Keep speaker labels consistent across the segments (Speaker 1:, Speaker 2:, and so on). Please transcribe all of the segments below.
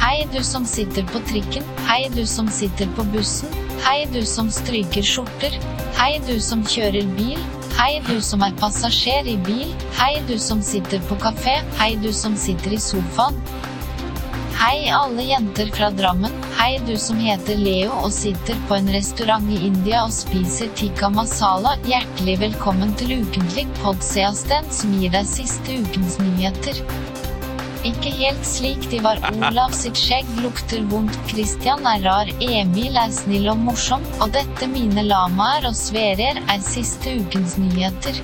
Speaker 1: Hei, du som sitter på trikken. Hei, du som sitter på bussen. Hei, du som stryker skjorter. Hei, du som kjører bil. Hei, du som er passasjer i bil. Hei, du som sitter på kafé. Hei, du som sitter i sofaen. Hei, alle jenter fra Drammen. Hei, du som heter Leo og sitter på en restaurant i India og spiser tikka masala. Hjertelig velkommen til ukentlig podseasten som gir deg siste ukens nyheter. Ikke helt slik de var. Olav sitt skjegg lukter vondt, Kristian er rar, Emil er snill og morsom, og dette mine lamaer og sverer er siste ukens nyheter.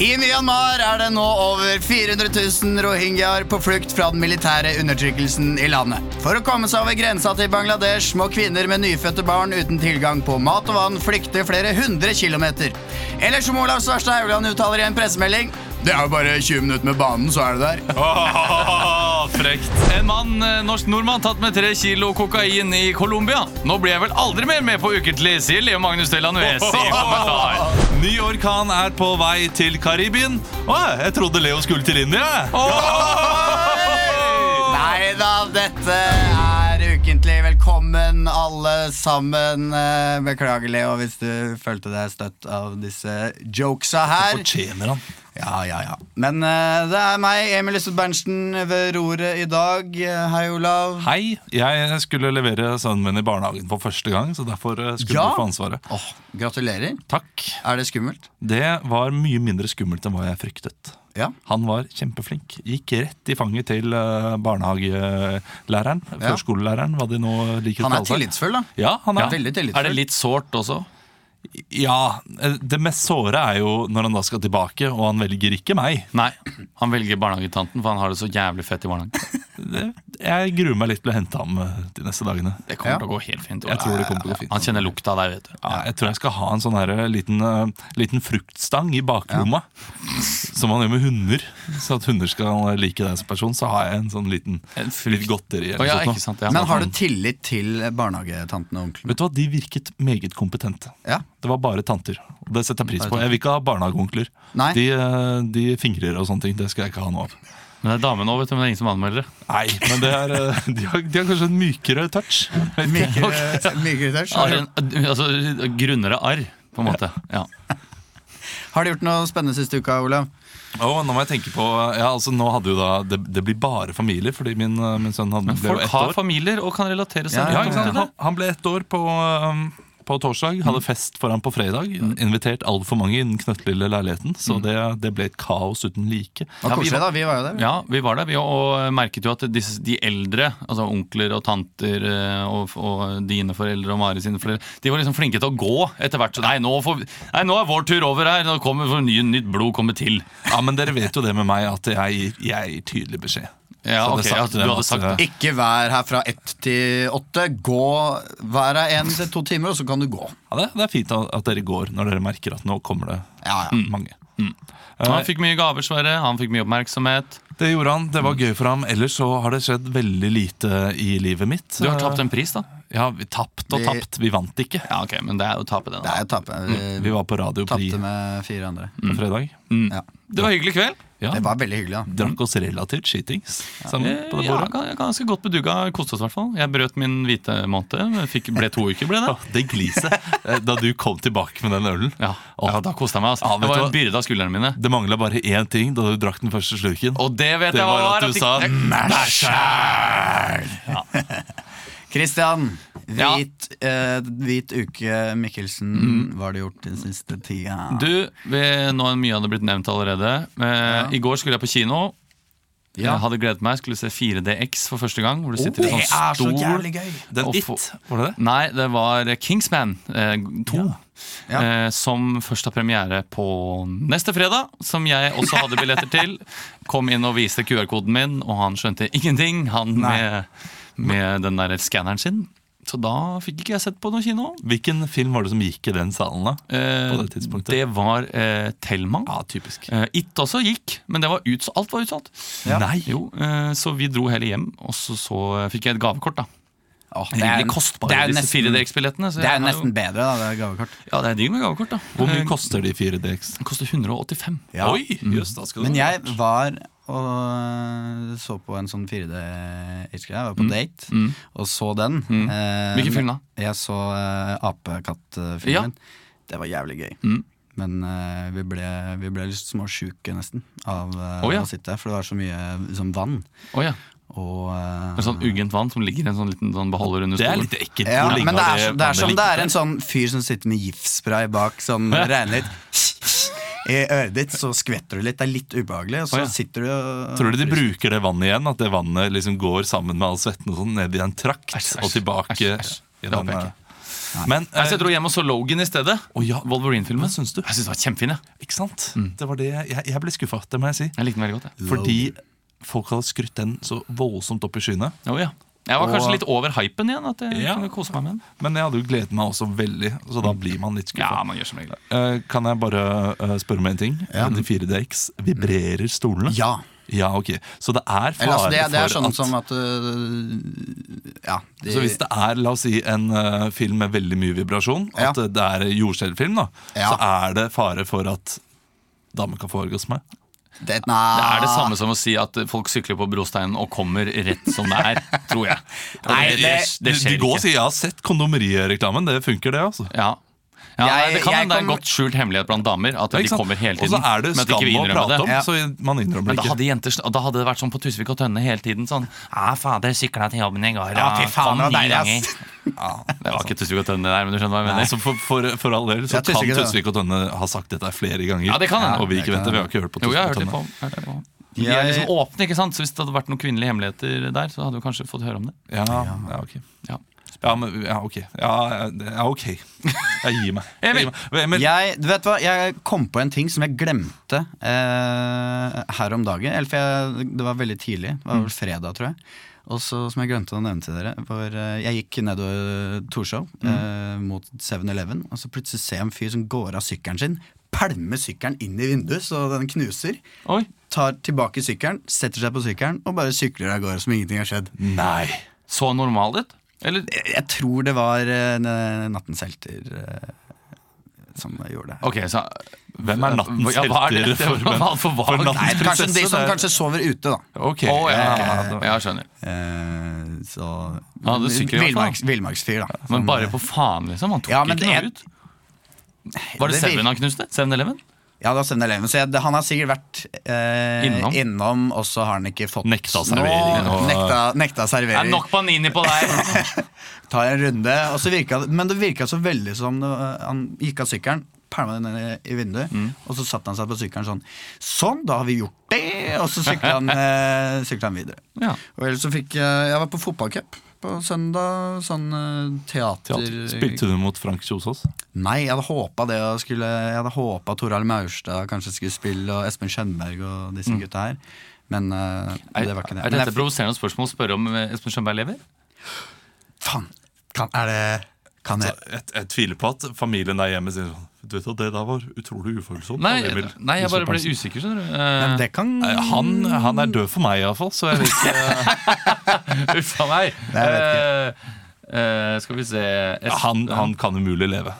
Speaker 2: I Myanmar er det nå over 400 000 rohingyaer på flukt fra den militære undertrykkelsen i landet. For å komme seg over grensa til Bangladesh må kvinner med nyfødte barn uten tilgang på mat og vann flykte flere hundre kilometer. Eller som Olav Svarstad Haugland uttaler i en pressemelding Det er jo bare 20 minutter med banen, så er det der.
Speaker 3: Åh, frekt. En mann, eh, norsk nordmann tatt med tre kilo kokain i Colombia. Nå blir jeg vel aldri mer med på ukentlig, sier Leo Magnus Delan Wes i kommentar.
Speaker 4: Ny orkan er på vei til Karibien. Å, jeg trodde Leo skulle til India. jeg.
Speaker 3: Åh!
Speaker 2: Nei da, dette er ukentlig. Velkommen, alle sammen. Eh, Beklager, Leo, hvis du følte deg støtt av disse jokesa her.
Speaker 4: Fortjener han.
Speaker 2: Ja, ja, ja. Men eh, det er meg, Emil Lysset Berntsen, ved roret i dag. Eh, Hei, Olav.
Speaker 4: Hei, jeg skulle levere sønnen min i barnehagen for første gang, så derfor eh, skulle
Speaker 2: Ja.
Speaker 4: du få ansvaret.
Speaker 2: Åh, gratulerer.
Speaker 4: Takk.
Speaker 2: Er det skummelt?
Speaker 4: Det var mye mindre skummelt enn hva jeg fryktet.
Speaker 2: Ja.
Speaker 4: Han var kjempeflink. Gikk rett i fanget til eh, barnehagelæreren.
Speaker 2: Ja.
Speaker 4: Førskolelæreren, hva de nå liker
Speaker 2: Han
Speaker 4: å
Speaker 2: er
Speaker 4: kalle seg.
Speaker 2: tillitsfull, da.
Speaker 4: Ja, han er
Speaker 2: Veldig
Speaker 3: Er det
Speaker 2: tillitsfull.
Speaker 3: litt sårt også?
Speaker 4: Ja, eh, Det mest såre er jo når han da skal tilbake, og han velger ikke meg.
Speaker 3: Nei. Han velger barnehagetanten, for han har det så jævlig fett i barnehagen.
Speaker 4: Det- Jeg gruer meg litt til å hente ham eh, de neste dagene.
Speaker 3: Det kommer
Speaker 2: Ja.
Speaker 3: til å gå helt fint. Ola.
Speaker 4: Jeg tror det kommer til å gå fint.
Speaker 3: Han kjenner lukta av deg, vet du.
Speaker 4: Ja, jeg tror jeg skal ha en sånn her liten, eh, liten fruktstang i baklomma, som man gjør med hunder. Så at hunder skal like deg som person, så har jeg en sånn liten
Speaker 3: En
Speaker 4: litt godteri.
Speaker 3: Å,
Speaker 4: Eller
Speaker 3: ja,
Speaker 4: sånt noe.
Speaker 3: ikke sant? Ja.
Speaker 2: Men har du tillit til barnehagetantene og onkelen?
Speaker 4: Vet du hva, De virket meget kompetente.
Speaker 2: Ja.
Speaker 4: Det var bare tanter. og Det setter jeg pris på. Jeg vil ikke ha barnehageonkler.
Speaker 2: Nei.
Speaker 4: De, eh, de fingrer og sånne ting. Det skal jeg ikke ha noe av.
Speaker 3: Men det er dame nå, vet du, men det er ingen som anmelder det.
Speaker 4: Nei, men det er, eh, de, har, de har kanskje en mykere touch.
Speaker 2: Mykere mykere touch. Har
Speaker 3: Arr,
Speaker 2: du-
Speaker 3: altså, grunnere arr, på en måte. Ja.
Speaker 2: Har du gjort noe spennende siste uka, Olav?
Speaker 4: Og nå må jeg tenke på ja, altså, nå hadde jo da, det, det blir bare familier, fordi min, eh, min sønn hadde,
Speaker 3: Men
Speaker 4: ble jo
Speaker 3: folk
Speaker 4: ett
Speaker 3: har
Speaker 4: år.
Speaker 3: familier og kan relatere seg.
Speaker 2: Ja,
Speaker 4: Ja, ikke sant?
Speaker 3: til det.
Speaker 4: Han, han ble ett år på, um, på torsdag,
Speaker 3: Mm.
Speaker 4: hadde fest for ham på fredag. Invitert altfor mange i den knøttlille leiligheten, så
Speaker 3: Mm.
Speaker 4: det, det ble et kaos uten like.
Speaker 2: Det var
Speaker 3: vi
Speaker 2: koselig, da. Vi var jo der. vi.
Speaker 3: Ja, vi var der, vi, og eh, merket jo at disse, de eldre, altså onkler og tanter eh, og, og dine foreldre og Mari sine foreldre, de var liksom flinke til å gå etter hvert. Så nei, nå, får, vi- nei, nå er vår tur over her, nå kommer for ny, nytt blod kommer til.
Speaker 4: Ja, Men dere vet jo det med meg, at jeg gir, jeg gir tydelig beskjed.
Speaker 3: Ja,
Speaker 4: Så
Speaker 3: ok,
Speaker 4: det
Speaker 3: ja,
Speaker 4: sa til
Speaker 3: du
Speaker 4: dem
Speaker 3: hadde
Speaker 4: at,
Speaker 3: sagt
Speaker 4: eh,
Speaker 3: det.
Speaker 2: Ikke vær her fra ett til åtte. Gå hver av en til to timer, og så kan du gå.
Speaker 4: Ja, eh, det, det er fint at at dere går når dere merker at nå kommer det
Speaker 2: Ja,
Speaker 3: Mm.
Speaker 2: ja.
Speaker 4: mange.
Speaker 3: Han fikk mye gaver, Sverre, han fikk mye oppmerksomhet.
Speaker 4: Det gjorde han,
Speaker 3: Mm.
Speaker 4: det var gøy for ham. Ellers så har det skjedd veldig lite i livet mitt.
Speaker 3: Du har tapt en pris, da.
Speaker 4: Ja, vi tapt og
Speaker 2: Vi-
Speaker 4: tapt. Vi vant ikke.
Speaker 3: Ja, ok, men det er jo å tape den.
Speaker 2: Det
Speaker 3: da.
Speaker 2: er jo tape.
Speaker 4: Mm. Vi
Speaker 2: Vi
Speaker 4: var Mm. på Radio Pri
Speaker 2: tapte med fire andre.
Speaker 4: på fredag.
Speaker 3: Mm.
Speaker 2: Ja.
Speaker 3: Det var en hyggelig kveld.
Speaker 4: Ja,
Speaker 2: Det var veldig hyggelig, da.
Speaker 4: Drakk oss relativt skitings sammen
Speaker 3: Eh,
Speaker 4: på det
Speaker 3: Ja,
Speaker 4: bordet.
Speaker 3: ga- ganske godt bedugga. Koste oss i hvert fall. Jeg brøt min hvite måned. men Fikk, ble to uker, ble det.
Speaker 4: Åh, Det gliset eh, da du kom tilbake med den ølen.
Speaker 3: Ja,
Speaker 4: Åh,
Speaker 3: ja da koste jeg meg. Altså.
Speaker 4: Ja,
Speaker 3: det
Speaker 4: vet du
Speaker 3: var
Speaker 4: hva?
Speaker 3: en byrde av skuldrene mine.
Speaker 4: Det mangla bare én ting da du drakk den første slurken.
Speaker 3: Og det vet
Speaker 4: det
Speaker 3: jeg
Speaker 4: var at du
Speaker 3: jeg-
Speaker 4: sa
Speaker 3: jeg-
Speaker 4: Mæsjæl!
Speaker 2: Kristian,
Speaker 3: Ja.
Speaker 2: hvit, eh, hvit uke Mikkelsen, hva har du gjort den siste tida?
Speaker 3: Du, vi, nå er mye av det blitt nevnt allerede. Eh, I går skulle jeg på kino.
Speaker 2: Ja.
Speaker 3: Jeg hadde gledet meg, skulle se 4DX for første gang. Hvor du sitter i
Speaker 2: det
Speaker 3: sånn
Speaker 2: er så
Speaker 3: stol
Speaker 2: jævlig gøy!
Speaker 4: Den
Speaker 3: Og
Speaker 4: It,
Speaker 3: få-
Speaker 4: var det det?
Speaker 3: Nei, det var Kingsman 2.
Speaker 2: Ja.
Speaker 3: eh, som først har premiere på neste fredag. Som jeg også hadde billetter til. Kom inn og viste QR-koden min, og han skjønte ingenting, han med, med den der skanneren sin. Så da fikk ikke jeg sett på noen kino.
Speaker 4: Hvilken film var det som gikk i den salen, da?
Speaker 3: Eh,
Speaker 4: På det tidspunktet.
Speaker 3: det var eh, Tellmann.
Speaker 4: Ja, typisk.
Speaker 3: Eh, It også gikk, men det var ut, alt var utsolgt. Nei. Jo, eh, så vi dro hele hjem, og så, så eh, fikk jeg et gavekort. da
Speaker 2: Åh, det er,
Speaker 3: Rimelig kostbare,
Speaker 2: det er jo
Speaker 3: disse
Speaker 2: nesten,
Speaker 3: 4DX-billettene. så
Speaker 2: det er
Speaker 3: jeg
Speaker 2: jo
Speaker 3: har
Speaker 2: nesten bedre, da, det er gavekort.
Speaker 3: Ja, det er digg med gavekort, da.
Speaker 4: Hvor mye
Speaker 3: Eh,
Speaker 4: koster de 4DX?
Speaker 3: det koster 185.
Speaker 2: Ja.
Speaker 4: Oi, jøss, da skal du
Speaker 2: Men jeg var og så på en sånn 4D-greie. Jeg var på date og så den. Eh,
Speaker 3: Mm. Hvilken film da?
Speaker 2: Jeg så eh,
Speaker 3: Ja. Mm.
Speaker 2: Apekatt-filmen. Det var jævlig gøy. Men eh, vi ble, vi ble litt småsjuke, nesten, av eh,
Speaker 3: Å, ja.
Speaker 2: å sitte her. For det var så mye liksom, vann.
Speaker 3: Å ja.
Speaker 2: Og eh,
Speaker 3: Det er sånn uggent vann som ligger i en sånn liten sånn beholder under
Speaker 4: Det er
Speaker 3: stolen.
Speaker 4: litt ekkelt.
Speaker 2: ja,
Speaker 4: Hvor lenge
Speaker 2: men det
Speaker 4: har
Speaker 2: er, så- det er som
Speaker 4: planlagt?
Speaker 2: det er en sånn fyr som sitter med giftspray bak, som regner litt i øret ditt, så skvetter du litt. Det er litt ubehagelig, og
Speaker 3: Å,
Speaker 2: så
Speaker 3: ja.
Speaker 2: sitter du og
Speaker 4: Tror du de bruker det vannet igjen? At det vannet liksom går sammen med all svetten og sånn ned i en trakt
Speaker 3: Æsj, æsj,
Speaker 4: og tilbake?
Speaker 3: æsj, æsj.
Speaker 4: i
Speaker 3: Det håper jeg
Speaker 4: den,
Speaker 3: ikke.
Speaker 4: eh, Men
Speaker 3: Nei, så
Speaker 4: eh,
Speaker 3: jeg dro hjem og så Logan i stedet.
Speaker 4: Å ja. hva
Speaker 3: Wolverine-filmen.
Speaker 4: syns du?
Speaker 3: Jeg syns det var kjempefin. Jeg.
Speaker 4: Ikke sant?
Speaker 3: Mm.
Speaker 4: Det var det jeg, jeg ble skuffa, det må jeg si.
Speaker 3: jeg likte den veldig godt. Jeg.
Speaker 4: Fordi folk hadde skrytt den så voldsomt opp i skyene.
Speaker 3: Å, ja. jeg var kanskje
Speaker 4: Og-
Speaker 3: litt over hypen igjen. At jeg
Speaker 4: Ja.
Speaker 3: kunne kose meg med den.
Speaker 4: Men jeg hadde jo gledet meg også veldig, så
Speaker 2: Mm.
Speaker 4: da blir man
Speaker 3: Ja,
Speaker 4: litt skuffa.
Speaker 3: man gjør som regel det.
Speaker 4: Eh, Kan jeg bare eh, spørre om en ting? De 4DX, vibrerer stolene?
Speaker 2: Ja.
Speaker 4: Ja, ok. Så det er fare
Speaker 2: Eller, altså, det, det er
Speaker 4: for
Speaker 2: sånn
Speaker 4: at
Speaker 2: som at øh, Ja. de-
Speaker 4: Så hvis det er la oss si, en eh, film med veldig mye vibrasjon, at
Speaker 2: Ja.
Speaker 4: eh, det er jordskjelvfilm, da,
Speaker 2: Ja.
Speaker 4: så er det fare for at damer kan få orgasme.
Speaker 2: det,
Speaker 3: Det
Speaker 2: nei,
Speaker 3: er det samme som å si at folk sykler på brosteinen og kommer rett som det er, tror jeg.
Speaker 2: Nei,
Speaker 3: det,
Speaker 2: det-
Speaker 3: det
Speaker 4: de
Speaker 3: skjer
Speaker 4: går og
Speaker 3: ikke.
Speaker 4: sier 'jeg har sett kondomerireklamen', det funker, det. altså.
Speaker 3: Ja. Ja,
Speaker 2: Jeg-
Speaker 3: nei, det kan
Speaker 2: jeg
Speaker 3: hende det er en
Speaker 2: kom-
Speaker 3: godt skjult hemmelighet blant damer. At
Speaker 4: Ja,
Speaker 3: de
Speaker 4: ikke sant?
Speaker 3: kommer hele
Speaker 4: Og
Speaker 3: tiden.
Speaker 4: så er det
Speaker 3: men at de ikke
Speaker 4: skam
Speaker 3: vil
Speaker 4: å
Speaker 3: innrømme
Speaker 4: prate
Speaker 3: det.
Speaker 4: om, så man innrømmer
Speaker 3: Men
Speaker 4: det
Speaker 3: da
Speaker 4: ikke.
Speaker 3: hadde, jenter, da hadde det vært sånn på Tusvik og Tønne hele tiden. Sånn Ja, fader, sykla til jobben i går.
Speaker 2: Ja, fy faen,
Speaker 3: kom
Speaker 2: det var deilig,
Speaker 3: ni ganger».
Speaker 2: ass.
Speaker 3: Det var ikke Tusvik og Tønne der, men du skjønner hva jeg
Speaker 4: Nei,
Speaker 3: mener.
Speaker 4: så for, for, for all del så
Speaker 2: Jeg
Speaker 4: kan
Speaker 2: tviler ikke det.
Speaker 4: Tusvik og Tønne ha sagt dette flere ganger.
Speaker 3: Ja, det kan hende.
Speaker 4: Og vi ikke
Speaker 2: Det
Speaker 4: vet
Speaker 2: kan
Speaker 4: det, vi har ikke hørt på
Speaker 3: Jo,
Speaker 4: Tusvik
Speaker 3: jeg har
Speaker 4: og
Speaker 3: hørt litt
Speaker 4: Tønne.
Speaker 3: på, hørt litt på. De er
Speaker 2: Jeg-
Speaker 3: liksom åpne, ikke sant? Så hvis det hadde vært noen kvinnelige hemmeligheter der, så hadde du kanskje fått høre om det.
Speaker 4: Ja, ja, ok.
Speaker 3: Ja.
Speaker 4: Ja, men, ja, ok. Ja, det- ja, ok. Jeg gir meg. Jeg
Speaker 3: Emil.
Speaker 4: gir meg. Emil,
Speaker 2: jeg, du vet hva, jeg kom på en ting som jeg glemte eh, her om dagen. Eller for jeg, det var veldig tidlig. Det var vel fredag, tror jeg. Og så som jeg glemte å nevne til dere var, eh, Jeg gikk nedover Torshov eh, mot 7-Eleven, og så plutselig ser jeg en fyr som går av sykkelen sin, pælmer sykkelen inn i vinduet så den knuser.
Speaker 3: Oi,
Speaker 2: Tar tilbake sykkelen, setter seg på sykkelen og bare sykler av gårde som ingenting har skjedd.
Speaker 4: Nei.
Speaker 3: Så normal ut? Eller
Speaker 2: Jeg tror det var eh, Nattens helter eh, som gjorde det.
Speaker 3: Ok, så
Speaker 4: Hvem er nattens
Speaker 3: Ja, hva er det?
Speaker 4: helter
Speaker 3: Det
Speaker 4: for
Speaker 3: var
Speaker 4: menn?
Speaker 3: for vagt.
Speaker 4: For
Speaker 2: Nei,
Speaker 4: nattens
Speaker 2: kanskje
Speaker 4: prinsesse,
Speaker 2: de som
Speaker 4: det er-
Speaker 2: kanskje sover ute, da.
Speaker 4: Ok.
Speaker 3: Å, ja, ja,
Speaker 4: ja,
Speaker 3: ja,
Speaker 4: det var-
Speaker 3: ja, jeg skjønner.
Speaker 2: Eh, så
Speaker 3: Ja, det sykler i hvert fall.
Speaker 2: Villmarks- Villmarksfyr, da.
Speaker 3: Men bare på faen, liksom. Han tok
Speaker 2: Ja, men
Speaker 3: ikke noe
Speaker 2: det-
Speaker 3: ut. Var det
Speaker 2: Det vil-
Speaker 3: Seven han knuste? 7-Eleven?
Speaker 2: Ja, det var 7-Eleven. Så jeg, det, han har sikkert vært eh,
Speaker 3: Innom.
Speaker 2: innom. og så har han ikke fått
Speaker 4: Nekta servering
Speaker 2: Nå,
Speaker 4: og-
Speaker 2: nekta, nekta
Speaker 3: Det er
Speaker 2: servering.
Speaker 3: nok panini på deg!
Speaker 2: Tar en runde. Og så virka, det- men det virka så veldig som det, var- han gikk av sykkelen, pælma den ned i vinduet,
Speaker 3: Mm.
Speaker 2: og så satte han seg på sykkelen sånn. Sånn, da har vi gjort det! Og så sykla han, eh, syklet han videre.
Speaker 3: Ja.
Speaker 2: Og ellers så fikk jeg Jeg var på fotballcup på søndag. Sånn eh, teater...
Speaker 4: Teater. Spilte du mot Frank Kjosås?
Speaker 2: Nei, jeg hadde håpa det. Og skulle, jeg hadde håpa Toralv Maurstad kanskje skulle spille, og Espen Skjønberg og disse gutta her. Men eh, det var ikke det.
Speaker 3: Mm.
Speaker 2: Men
Speaker 3: Er dette
Speaker 2: jeg,
Speaker 3: et provoserende spørsmål å spørre om eh, Espen Schønberg lever?
Speaker 2: faen, kan, er det Kan jeg
Speaker 4: Jeg, jeg tviler på at familien der hjemme sier sånn Du vet at det der var utrolig ufølsomt.
Speaker 3: Nei,
Speaker 4: Emil."
Speaker 3: nei jeg bare ble usikker, skjønner du.
Speaker 2: Men
Speaker 3: Eh,
Speaker 2: det kan
Speaker 4: Eh, han, han er død for meg, iallfall. Så jeg vet ikke
Speaker 3: Uff a meg.
Speaker 2: Nei, jeg
Speaker 3: Eh, eh, skal vi se Espen-
Speaker 4: han, han kan umulig leve.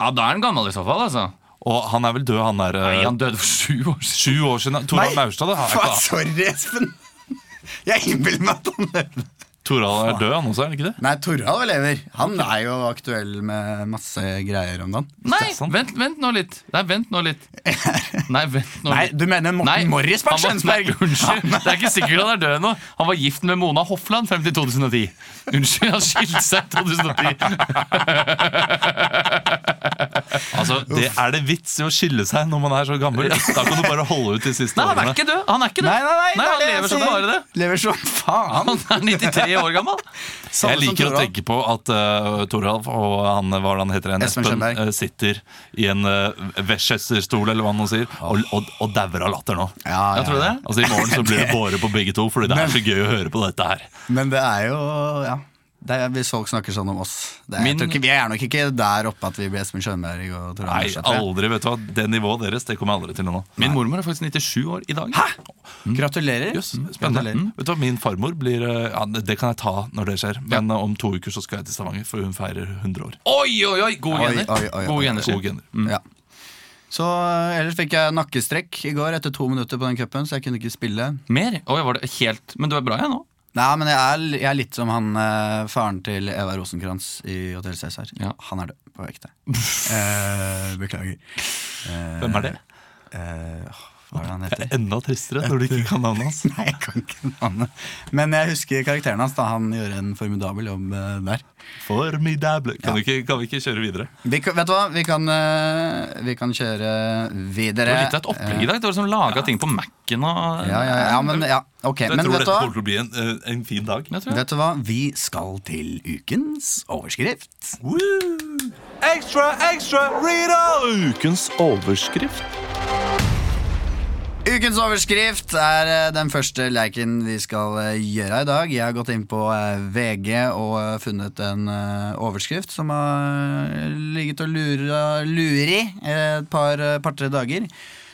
Speaker 3: Ja, da er han gammel i så fall, altså.
Speaker 4: Og han er vel død, han der
Speaker 3: Nei,
Speaker 4: eh,
Speaker 3: han døde for sju år siden.
Speaker 4: Sju år siden. Toralv Maurstad det har jeg
Speaker 2: Faen,
Speaker 4: ikke, da.
Speaker 2: sorry, Espen! Jeg innbiller meg at han lever.
Speaker 4: Toralv er død, han også, er han ikke det?
Speaker 2: Nei, Toralv lever. Han er jo aktuell med masse greier om dagen.
Speaker 3: Nei,
Speaker 4: Det er sant.
Speaker 3: vent, vent nå litt. Nei, vent nå litt. Nei, vent nå
Speaker 2: Nei,
Speaker 3: litt.
Speaker 2: du mener Morten Morris på
Speaker 3: han var-
Speaker 2: Skjønsberg?
Speaker 3: Nei, Unnskyld, det er ikke sikkert han er død nå. Han var gift med Mona Hofland frem til 2010. Unnskyld, han skilte seg i 2010.
Speaker 4: Altså, det er det vits i å skille seg når man er så gammel. Da kan du bare holde ut de siste
Speaker 3: Nei, han er
Speaker 4: årene.
Speaker 3: ikke død. Han er ikke død.
Speaker 2: Nei, nei, nei, det er
Speaker 3: han
Speaker 2: det jeg
Speaker 3: lever som
Speaker 2: sier.
Speaker 3: bare det.
Speaker 2: Lever som faen.
Speaker 3: Han er 93 år gammel.
Speaker 2: Samme
Speaker 4: jeg
Speaker 2: som
Speaker 4: liker å
Speaker 2: Toralf.
Speaker 4: tenke på at uh, Toralf og han, hva er det han heter igjen,
Speaker 2: Espen
Speaker 4: Espen,
Speaker 2: Schønberg.
Speaker 4: eh, sitter i en uh, Westchester-stol eller hva han nå sier, og, og, og dauer av latter nå.
Speaker 2: Ja, ja,
Speaker 3: Jeg tror det.
Speaker 4: Altså I morgen så blir det båre på begge to, fordi det er så gøy å høre på dette her.
Speaker 2: Men det er jo ja. det er, Hvis folk snakker sånn om oss det er,
Speaker 3: Min-
Speaker 2: jeg tror ikke, Vi er nok ikke der oppe at vi blir Espen Schønberg og Tor
Speaker 4: Nei,
Speaker 2: Anders. jeg tror jeg.
Speaker 4: aldri, vet du hva, Det nivået deres det kommer jeg aldri til nå.
Speaker 3: Min mormor er faktisk 97 år i dag.
Speaker 2: Gratulerer.
Speaker 4: Jøss, spennende. Mm.
Speaker 2: Gratulerer.
Speaker 4: Vet du hva, Min farmor blir eh, ja, Det kan jeg ta når det skjer, men eh, om to uker så skal jeg til Stavanger, for hun feirer 100 år.
Speaker 3: Oi, oi, oi! Gode
Speaker 2: Oi,
Speaker 3: gener.
Speaker 2: oi, oi, oi.
Speaker 3: Gode gener, sier
Speaker 4: Gode gener.
Speaker 2: Ja. Så eh, ellers fikk jeg nakkestrekk i går etter to minutter på den cupen, så jeg kunne ikke spille.
Speaker 3: Mer? Oi, var det helt Men du er bra, jeg, nå.
Speaker 2: Nei, men jeg er, jeg er litt som han eh, faren til Eva Rosenkrantz i Hotell Cæsar.
Speaker 3: Ja.
Speaker 2: Han er død på ekte. Eh, beklager. Eh,
Speaker 4: Hvem er det?
Speaker 2: eh, hva er det han
Speaker 4: Det
Speaker 2: heter?
Speaker 4: er enda tristere når du ikke
Speaker 2: eh,
Speaker 4: kan navnet hans.
Speaker 2: Nei, jeg kan ikke navnet. Men jeg husker karakteren hans. da Han gjorde en formidabel jobb eh, der.
Speaker 4: Formidable. Kan, du ikke, kan vi ikke kjøre videre?
Speaker 2: Vi, kan- vet du hva? Vi kan, eh, vi kan kjøre videre. Eh,
Speaker 3: Det var litt av et opplegg i dag. Det var som laga ting på Mac-en og
Speaker 2: Ja, ja, ja, men, ja, ok.
Speaker 4: Jeg
Speaker 2: Men
Speaker 4: tror
Speaker 2: vet
Speaker 4: dette
Speaker 2: du hva?
Speaker 4: kommer til å bli en, eh, en fin dag.
Speaker 3: Jeg tror jeg.
Speaker 2: Vet du hva? Vi skal til ukens overskrift.
Speaker 4: Woo!
Speaker 5: Ekstra, ekstra, reader!
Speaker 4: Ukens overskrift.
Speaker 2: Ukens overskrift er eh, den første leiken vi skal eh, gjøre i dag. Jeg har gått inn på eh, VG og eh, funnet en eh, overskrift som har eh, ligget og lura, lurer i et par, eh, par-tre dager,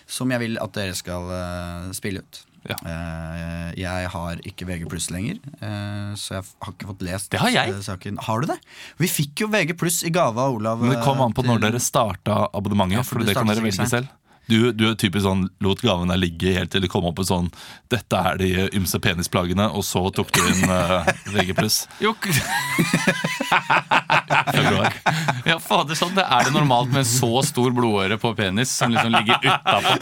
Speaker 2: som jeg vil at dere skal eh, spille ut.
Speaker 4: Ja.
Speaker 2: Eh, Jeg har ikke VG pluss lenger, eh, så jeg f- har ikke fått lest
Speaker 3: Det har jeg.
Speaker 2: eh, saken. Har du det? Vi fikk jo VG pluss i gave av Olav.
Speaker 4: Men det kom
Speaker 2: eh,
Speaker 4: an på
Speaker 2: til-
Speaker 4: når dere starta abonnementet.
Speaker 2: Ja, for
Speaker 4: for
Speaker 2: du
Speaker 4: det kan
Speaker 2: startet
Speaker 4: dere velge
Speaker 2: sikkert
Speaker 4: selv. Du, du er typisk sånn lot gavene ligge helt til det kom opp en sånn 'Dette er de ymse penisplagene', og så tok du inn uh, VG+.
Speaker 3: Jo, k- ja, fader, sånn det er det normalt med en så stor blodåre på penis som liksom ligger utapå.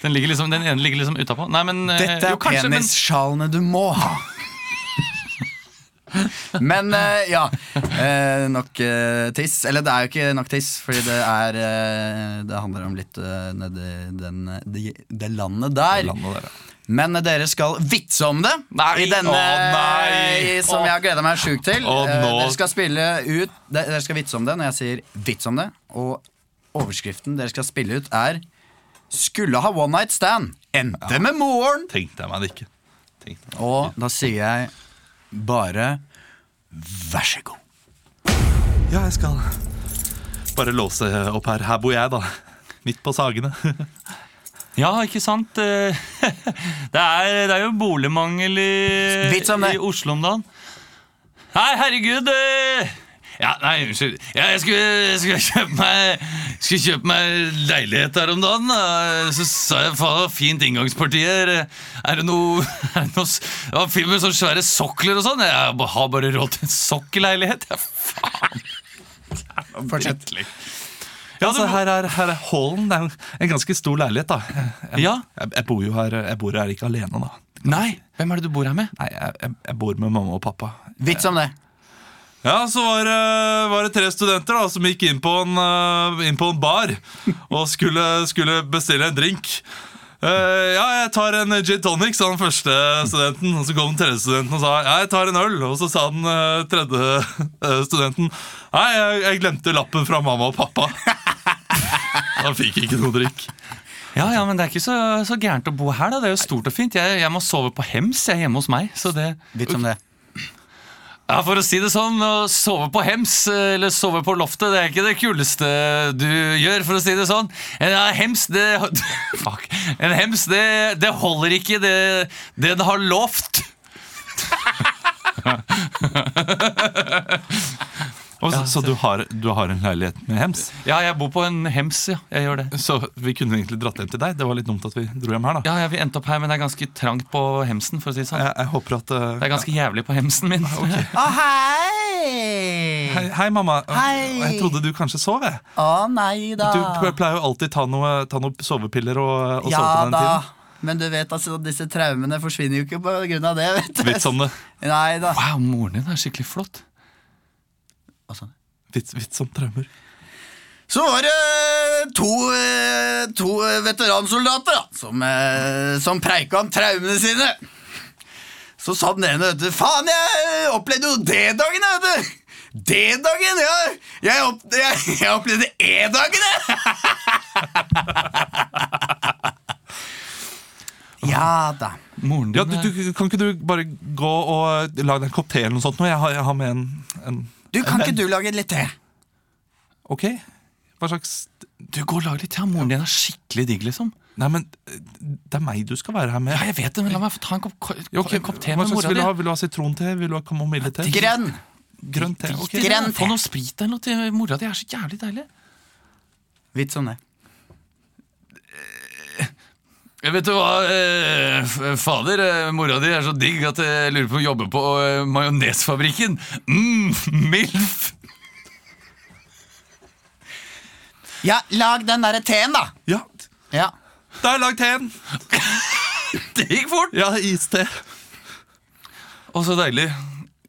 Speaker 3: Den, ligger liksom, den ene ligger liksom utapå. Nei, men eh,
Speaker 2: Dette er
Speaker 3: jo, kanskje, men-
Speaker 2: penissjalene du må ha. Men eh, ja, eh, nok eh, tiss. Eller det er jo ikke nok tiss, fordi det er eh, Det handler om litt uh, nedi den, de, det landet der.
Speaker 4: Landet der, ja.
Speaker 2: Men eh, dere skal vitse om det
Speaker 3: Nei,
Speaker 2: i denne
Speaker 3: å nei,
Speaker 2: i- som
Speaker 3: å.
Speaker 2: jeg har gleda meg sjukt til.
Speaker 4: Å,
Speaker 2: Eh,
Speaker 4: nå.
Speaker 2: Dere skal spille ut de- Dere skal vitse om det når jeg sier vits om det. Og overskriften dere skal spille ut, er 'Skulle ha one night stand'. Endte med moren.
Speaker 4: Tenkte jeg meg det ikke. Tenkte jeg meg.
Speaker 2: Og da sier jeg bare vær så god.
Speaker 4: Ja, jeg skal bare låse opp her. Her bor jeg, da. Midt på Sagene.
Speaker 3: Ja, ikke sant? Eh, Det er, det er jo boligmangel i,
Speaker 2: Vits om det.
Speaker 3: i Oslo om dagen. Nei, herregud! eh, Ja, nei, unnskyld. Ja, jeg skulle, jeg skulle, kjøpe meg, skulle kjøpe meg leilighet her om dagen. eh, Så sa jeg faen, det var fint inngangsparti her. eh, Er det noe, er det noe s- Det var fint med sånne svære sokler og sånn. Jeg ba- har bare råd til en sokkelleilighet. Ja, faen.
Speaker 2: Fortsett.
Speaker 3: Ja,
Speaker 4: Altså,
Speaker 3: du,
Speaker 4: her er, her er hallen. Det er en- en ganske stor leilighet, da. Jeg,
Speaker 3: Ja.
Speaker 4: jeg, jeg bor jo her, jeg bor her ikke alene, da.
Speaker 3: nei, hvem er det du bor her med?
Speaker 4: Nei, jeg, jeg, jeg bor med mamma og pappa.
Speaker 2: Vits om det.
Speaker 4: Ja, så var, det- var det tre studenter da, som gikk inn på en, eh, inn på en bar og skulle, skulle bestille en drink. Eh, ja, jeg tar en gin tonic, sa den første studenten. Og så kom den tredje studenten og sa ja, jeg tar en øl. Og så sa den eh, tredje eh, studenten nei, jeg, jeg glemte lappen fra mamma og pappa. Han fikk ikke noe drink.
Speaker 3: Ja, ja, men det er ikke så, så gærent å bo her, da. Det er jo stort og fint. Jeg, jeg må sove på hems jeg er hjemme hos meg. Så det
Speaker 2: Vits om det.
Speaker 3: Ja, For å si det sånn, å sove på hems eh, eller sove på loftet, det er ikke det kuleste du gjør, for å si det sånn. En ja, hems, det Fuck. En hems, det, det holder ikke det, det den har lovt.
Speaker 4: Og så, så du, har, du har en leilighet med hems?
Speaker 3: Ja, jeg bor på en hems, ja. Jeg gjør det.
Speaker 4: Så vi kunne egentlig dratt hjem til deg. Det var litt dumt at vi dro hjem her, da.
Speaker 3: Ja, ja, Vi endte opp her, men det er ganske trangt på hemsen, for å si det sånn.
Speaker 4: Jeg, jeg håper at eh,
Speaker 3: Det er ganske jævlig på hemsen min.
Speaker 2: Å, hei!
Speaker 4: Hei, hei mamma.
Speaker 2: Hei.
Speaker 4: Jeg trodde du kanskje sov, jeg.
Speaker 2: Å, nei da.
Speaker 4: Du p- pleier jo alltid ta noe, ta noe sovepiller og, og
Speaker 2: Ja
Speaker 4: sove på den
Speaker 2: da.
Speaker 4: tiden.
Speaker 2: Men du vet altså, disse traumene forsvinner jo ikke på grunn av det, vet du.
Speaker 4: Vits om det.
Speaker 2: Nei da.
Speaker 3: Wow, moren din er skikkelig flott.
Speaker 2: Altså,
Speaker 4: Vits, vits om traumer.
Speaker 2: Så var det to, eh, to eh, veteransoldater da, som, eh, som preika om traumene sine. Så sa den ene, vet du, faen, jeg eh, opplevde jo D-dagen, jeg, vet du. D-dagen, ja. Jeg, opp, jeg, jeg opplevde E-dagen, jeg. ja da.
Speaker 3: Moren din
Speaker 4: Ja, du, du, kan ikke du bare gå og lage deg en kopp te eller noe sånt? nå? Jeg har, jeg har med en, en
Speaker 2: Du, kan ikke du lage litt te?
Speaker 4: Ok? Hva slags
Speaker 3: Du går og lager litt te. Ja, moren din er skikkelig digg, liksom.
Speaker 4: Nei, men det er meg du skal være her med.
Speaker 3: Ja, jeg vet det, men la meg få ta en kopp, ko-
Speaker 4: Jo, ok,
Speaker 3: en kopp te
Speaker 4: hva
Speaker 3: med
Speaker 4: slags
Speaker 3: mora
Speaker 4: vil du
Speaker 3: di.
Speaker 4: ha? Vil du ha sitronte? Vil du ha kamomillete?
Speaker 2: Grønn.
Speaker 4: Grønn te.
Speaker 3: Drit
Speaker 4: ok.
Speaker 3: i det.
Speaker 2: Grønn te.
Speaker 3: Få noe sprit eller noe til mora di. Det er så jævlig deilig.
Speaker 2: Vits om sånn det.
Speaker 3: Jeg vet du hva, eh, f- fader, eh, mora di er så digg at jeg lurer på å jobbe på eh, majonesfabrikken. Mm, milf!
Speaker 2: Ja, lag den derre teen, da.
Speaker 4: Ja,
Speaker 2: Ja.
Speaker 4: da har jeg lagd teen!
Speaker 3: Det gikk fort!
Speaker 4: Ja, iste.
Speaker 3: Og så deilig.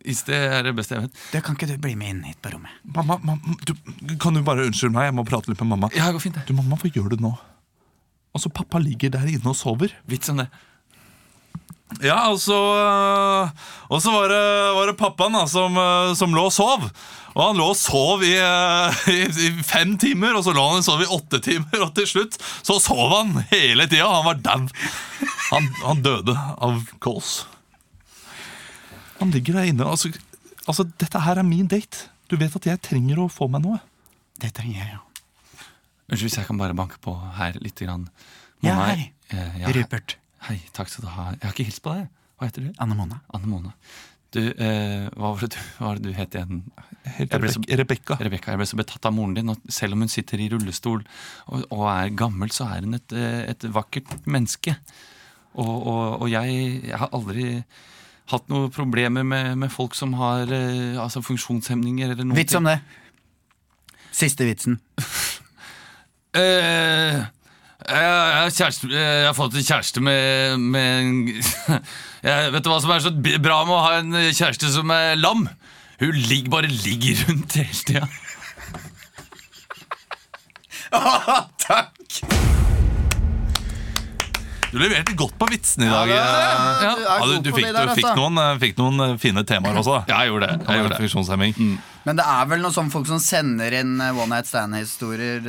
Speaker 3: Iste er det beste jeg vet.
Speaker 2: Du, kan ikke du bli med inn hit på rommet?
Speaker 4: Mamma, mamma du, kan du bare unnskylde meg? Jeg må prate litt med mamma.
Speaker 3: Ja, det går fint, det.
Speaker 4: Du, mamma, hva gjør du nå? Altså, pappa ligger der inne og sover.
Speaker 3: Vits om det.
Speaker 4: Ja, og så øh, Og så var det, var det pappaen da, som, øh, som lå og sov. Og han lå og sov i, øh, i, i fem timer, og så lå han og sov i åtte timer, og til slutt så sov han hele tida. Han var dau. Han, han døde av kols. Han ligger der inne. Altså, altså, dette her er min date. Du vet at jeg trenger å få meg noe.
Speaker 2: Det trenger jeg, ja.
Speaker 3: Unnskyld hvis jeg kan bare banke på her litt. Grann.
Speaker 2: Ja,
Speaker 3: Mamma er-
Speaker 2: hei.
Speaker 3: Eh, ja,
Speaker 2: Rupert.
Speaker 3: Hei, takk skal du ha. Jeg har ikke hilst på deg. Hva heter du?
Speaker 2: Anne Mona.
Speaker 3: Anne Mona. Du, eh, hva var det du, hva var det du het igjen? Jeg ble så-
Speaker 4: Rebekka.
Speaker 3: Rebekka, jeg ble så betatt av moren din, og selv om hun sitter i rullestol og, og er gammel, så er hun et, eh, et vakkert menneske. Og, og, og jeg, jeg har aldri hatt noen problemer med, med folk som har eh, altså funksjonshemninger eller noe.
Speaker 2: Vits om det. Siste vitsen.
Speaker 3: Eh, jeg, jeg, har kjæreste, eh, jeg har fått en kjæreste med, med en, jeg, Vet du hva som er så b- bra med å ha en kjæreste som er lam? Hun ligger, bare ligger rundt hele tida.
Speaker 2: Takk!
Speaker 4: Du leverte godt på vitsene i dag. eh.
Speaker 3: Ja,
Speaker 4: Ja, du, du, fikk, du
Speaker 2: altså.
Speaker 4: fikk, noen, eh, fikk noen eh, fine temaer også. da
Speaker 3: Ja, jeg gjorde det. Jeg gjorde det. Mm.
Speaker 4: Funksjonshemming.
Speaker 2: Men det er vel noen sånne folk som sender inn eh, one night stand-historier eh,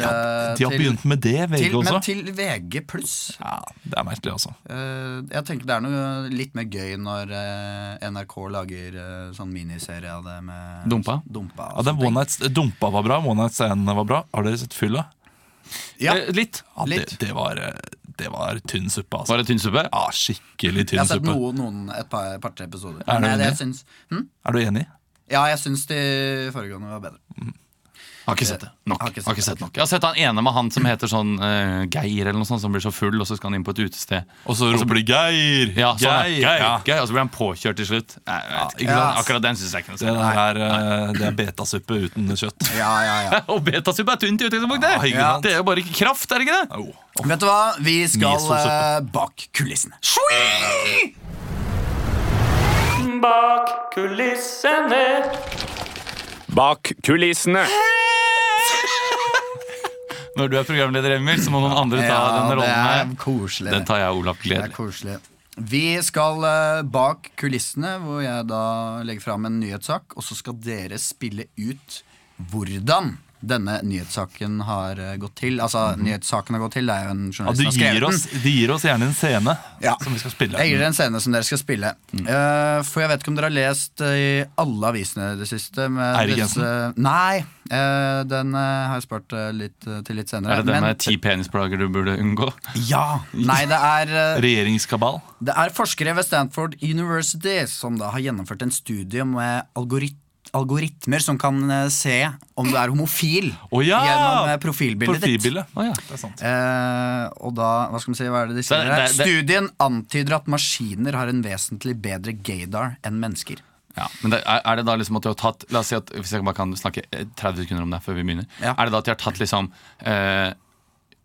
Speaker 4: De har begynt med det, VG
Speaker 2: til, men
Speaker 4: også.
Speaker 2: til VG pluss.
Speaker 4: Ja, Det er merkelig, altså.
Speaker 2: Eh, jeg tenker det er noe litt mer gøy når eh, NRK lager eh, sånn miniserie av det med
Speaker 3: Dumpa?
Speaker 2: Dumpa altså.
Speaker 4: Ja, den one night, Dumpa var bra, One Night Stand var bra. Har dere sett Fylla?
Speaker 2: ja.
Speaker 3: Eh, Litt.
Speaker 4: Ja, det,
Speaker 2: Litt.
Speaker 4: det, var, eh, det var tynn suppe, altså.
Speaker 3: Var det tynn suppe?
Speaker 4: Ja, Skikkelig
Speaker 2: Jeg
Speaker 4: tynn
Speaker 2: har sett
Speaker 4: suppe.
Speaker 2: noen, noen et par, par tre episoder.
Speaker 4: Er det
Speaker 2: Men jeg,
Speaker 4: det?
Speaker 2: jeg syns, hm?
Speaker 4: Er du enig?
Speaker 2: Ja, jeg syns de foregående var bedre.
Speaker 3: Har ikke sett det. Eh, Nok.
Speaker 2: Har ikke
Speaker 3: Har
Speaker 2: sett
Speaker 3: ikke
Speaker 2: det.
Speaker 3: sett nok. Jeg har sett han ene med han som heter sånn eh, Geir eller noe sånt, som blir så full, og så skal han inn på et utested.
Speaker 4: Og så roper de 'Geir!
Speaker 3: Altså- Ja, sånn, ja.
Speaker 4: Geir!'
Speaker 3: Geir,
Speaker 4: Ja.
Speaker 3: Geir, og så blir han påkjørt til slutt. Nei, jeg vet, ikke
Speaker 2: Ja.
Speaker 3: sant? Akkurat den syns jeg ikke noe
Speaker 4: Det
Speaker 3: om.
Speaker 4: der er, eh, det er betasuppe uten kjøtt.
Speaker 2: Ja, ja, ja.
Speaker 3: Og betasuppe er tynt i utgangspunktet!
Speaker 4: Ja, ikke sant?
Speaker 3: Det er jo bare kraft, er det ikke det?
Speaker 4: Au.
Speaker 2: Vet du hva? Vi skal
Speaker 4: Miso-suppe.
Speaker 2: eh, bak kulissene.
Speaker 6: Bak kulissene.
Speaker 7: Bak kulissene.
Speaker 3: Når du er programleder, Emil, så må noen andre ta
Speaker 2: Ja,
Speaker 3: denne
Speaker 2: det
Speaker 3: rollen
Speaker 2: er
Speaker 3: her.
Speaker 2: koselig.
Speaker 3: Den
Speaker 2: det.
Speaker 3: tar jeg, Olav
Speaker 2: Det er
Speaker 3: Gleder.
Speaker 2: koselig. Vi skal eh, bak kulissene, hvor jeg da legger fram en nyhetssak, og så skal dere spille ut hvordan denne nyhetssaken har eh, gått til. Altså, nyhetssaken har gått til, det er jo en
Speaker 4: Mhm. Ja,
Speaker 2: journalist som
Speaker 4: de,
Speaker 2: har
Speaker 4: gir
Speaker 2: skrevet
Speaker 4: oss,
Speaker 2: den.
Speaker 4: de gir oss gjerne en scene
Speaker 2: Ja.
Speaker 4: som vi skal spille. Mm.
Speaker 2: Jeg gir dere en scene som dere skal spille. Eh, for jeg vet ikke om dere har lest eh, i alle avisene i det siste. Med
Speaker 4: Eirik
Speaker 2: disse- Nei, eh, den eh, har jeg spart eh, litt, eh, til litt senere.
Speaker 3: Er det
Speaker 2: men-
Speaker 3: den med ti penisplager du burde unngå?
Speaker 2: Ja! Nei, det er eh,
Speaker 4: Regjeringskabal.
Speaker 2: Det er forskere ved Stanford University som da har gjennomført en studie med algorit algoritmer som kan eh, se om du er homofil
Speaker 4: Å ja!
Speaker 2: gjennom eh, profilbildet ditt.
Speaker 4: Profilbilde.
Speaker 3: Å ja.
Speaker 4: Det er sant.
Speaker 2: Eh, og da, hva skal vi si, hva er det de sier
Speaker 3: Det-
Speaker 2: her?
Speaker 3: det- det-
Speaker 2: Studien antyder at maskiner har en vesentlig bedre gaydar enn mennesker.
Speaker 3: Ja, men det, er, er det da liksom at du har tatt La oss si at Hvis jeg bare kan snakke eh, 30 sekunder om det her før vi begynner.
Speaker 2: Ja.
Speaker 3: Er det da at de har tatt liksom eh,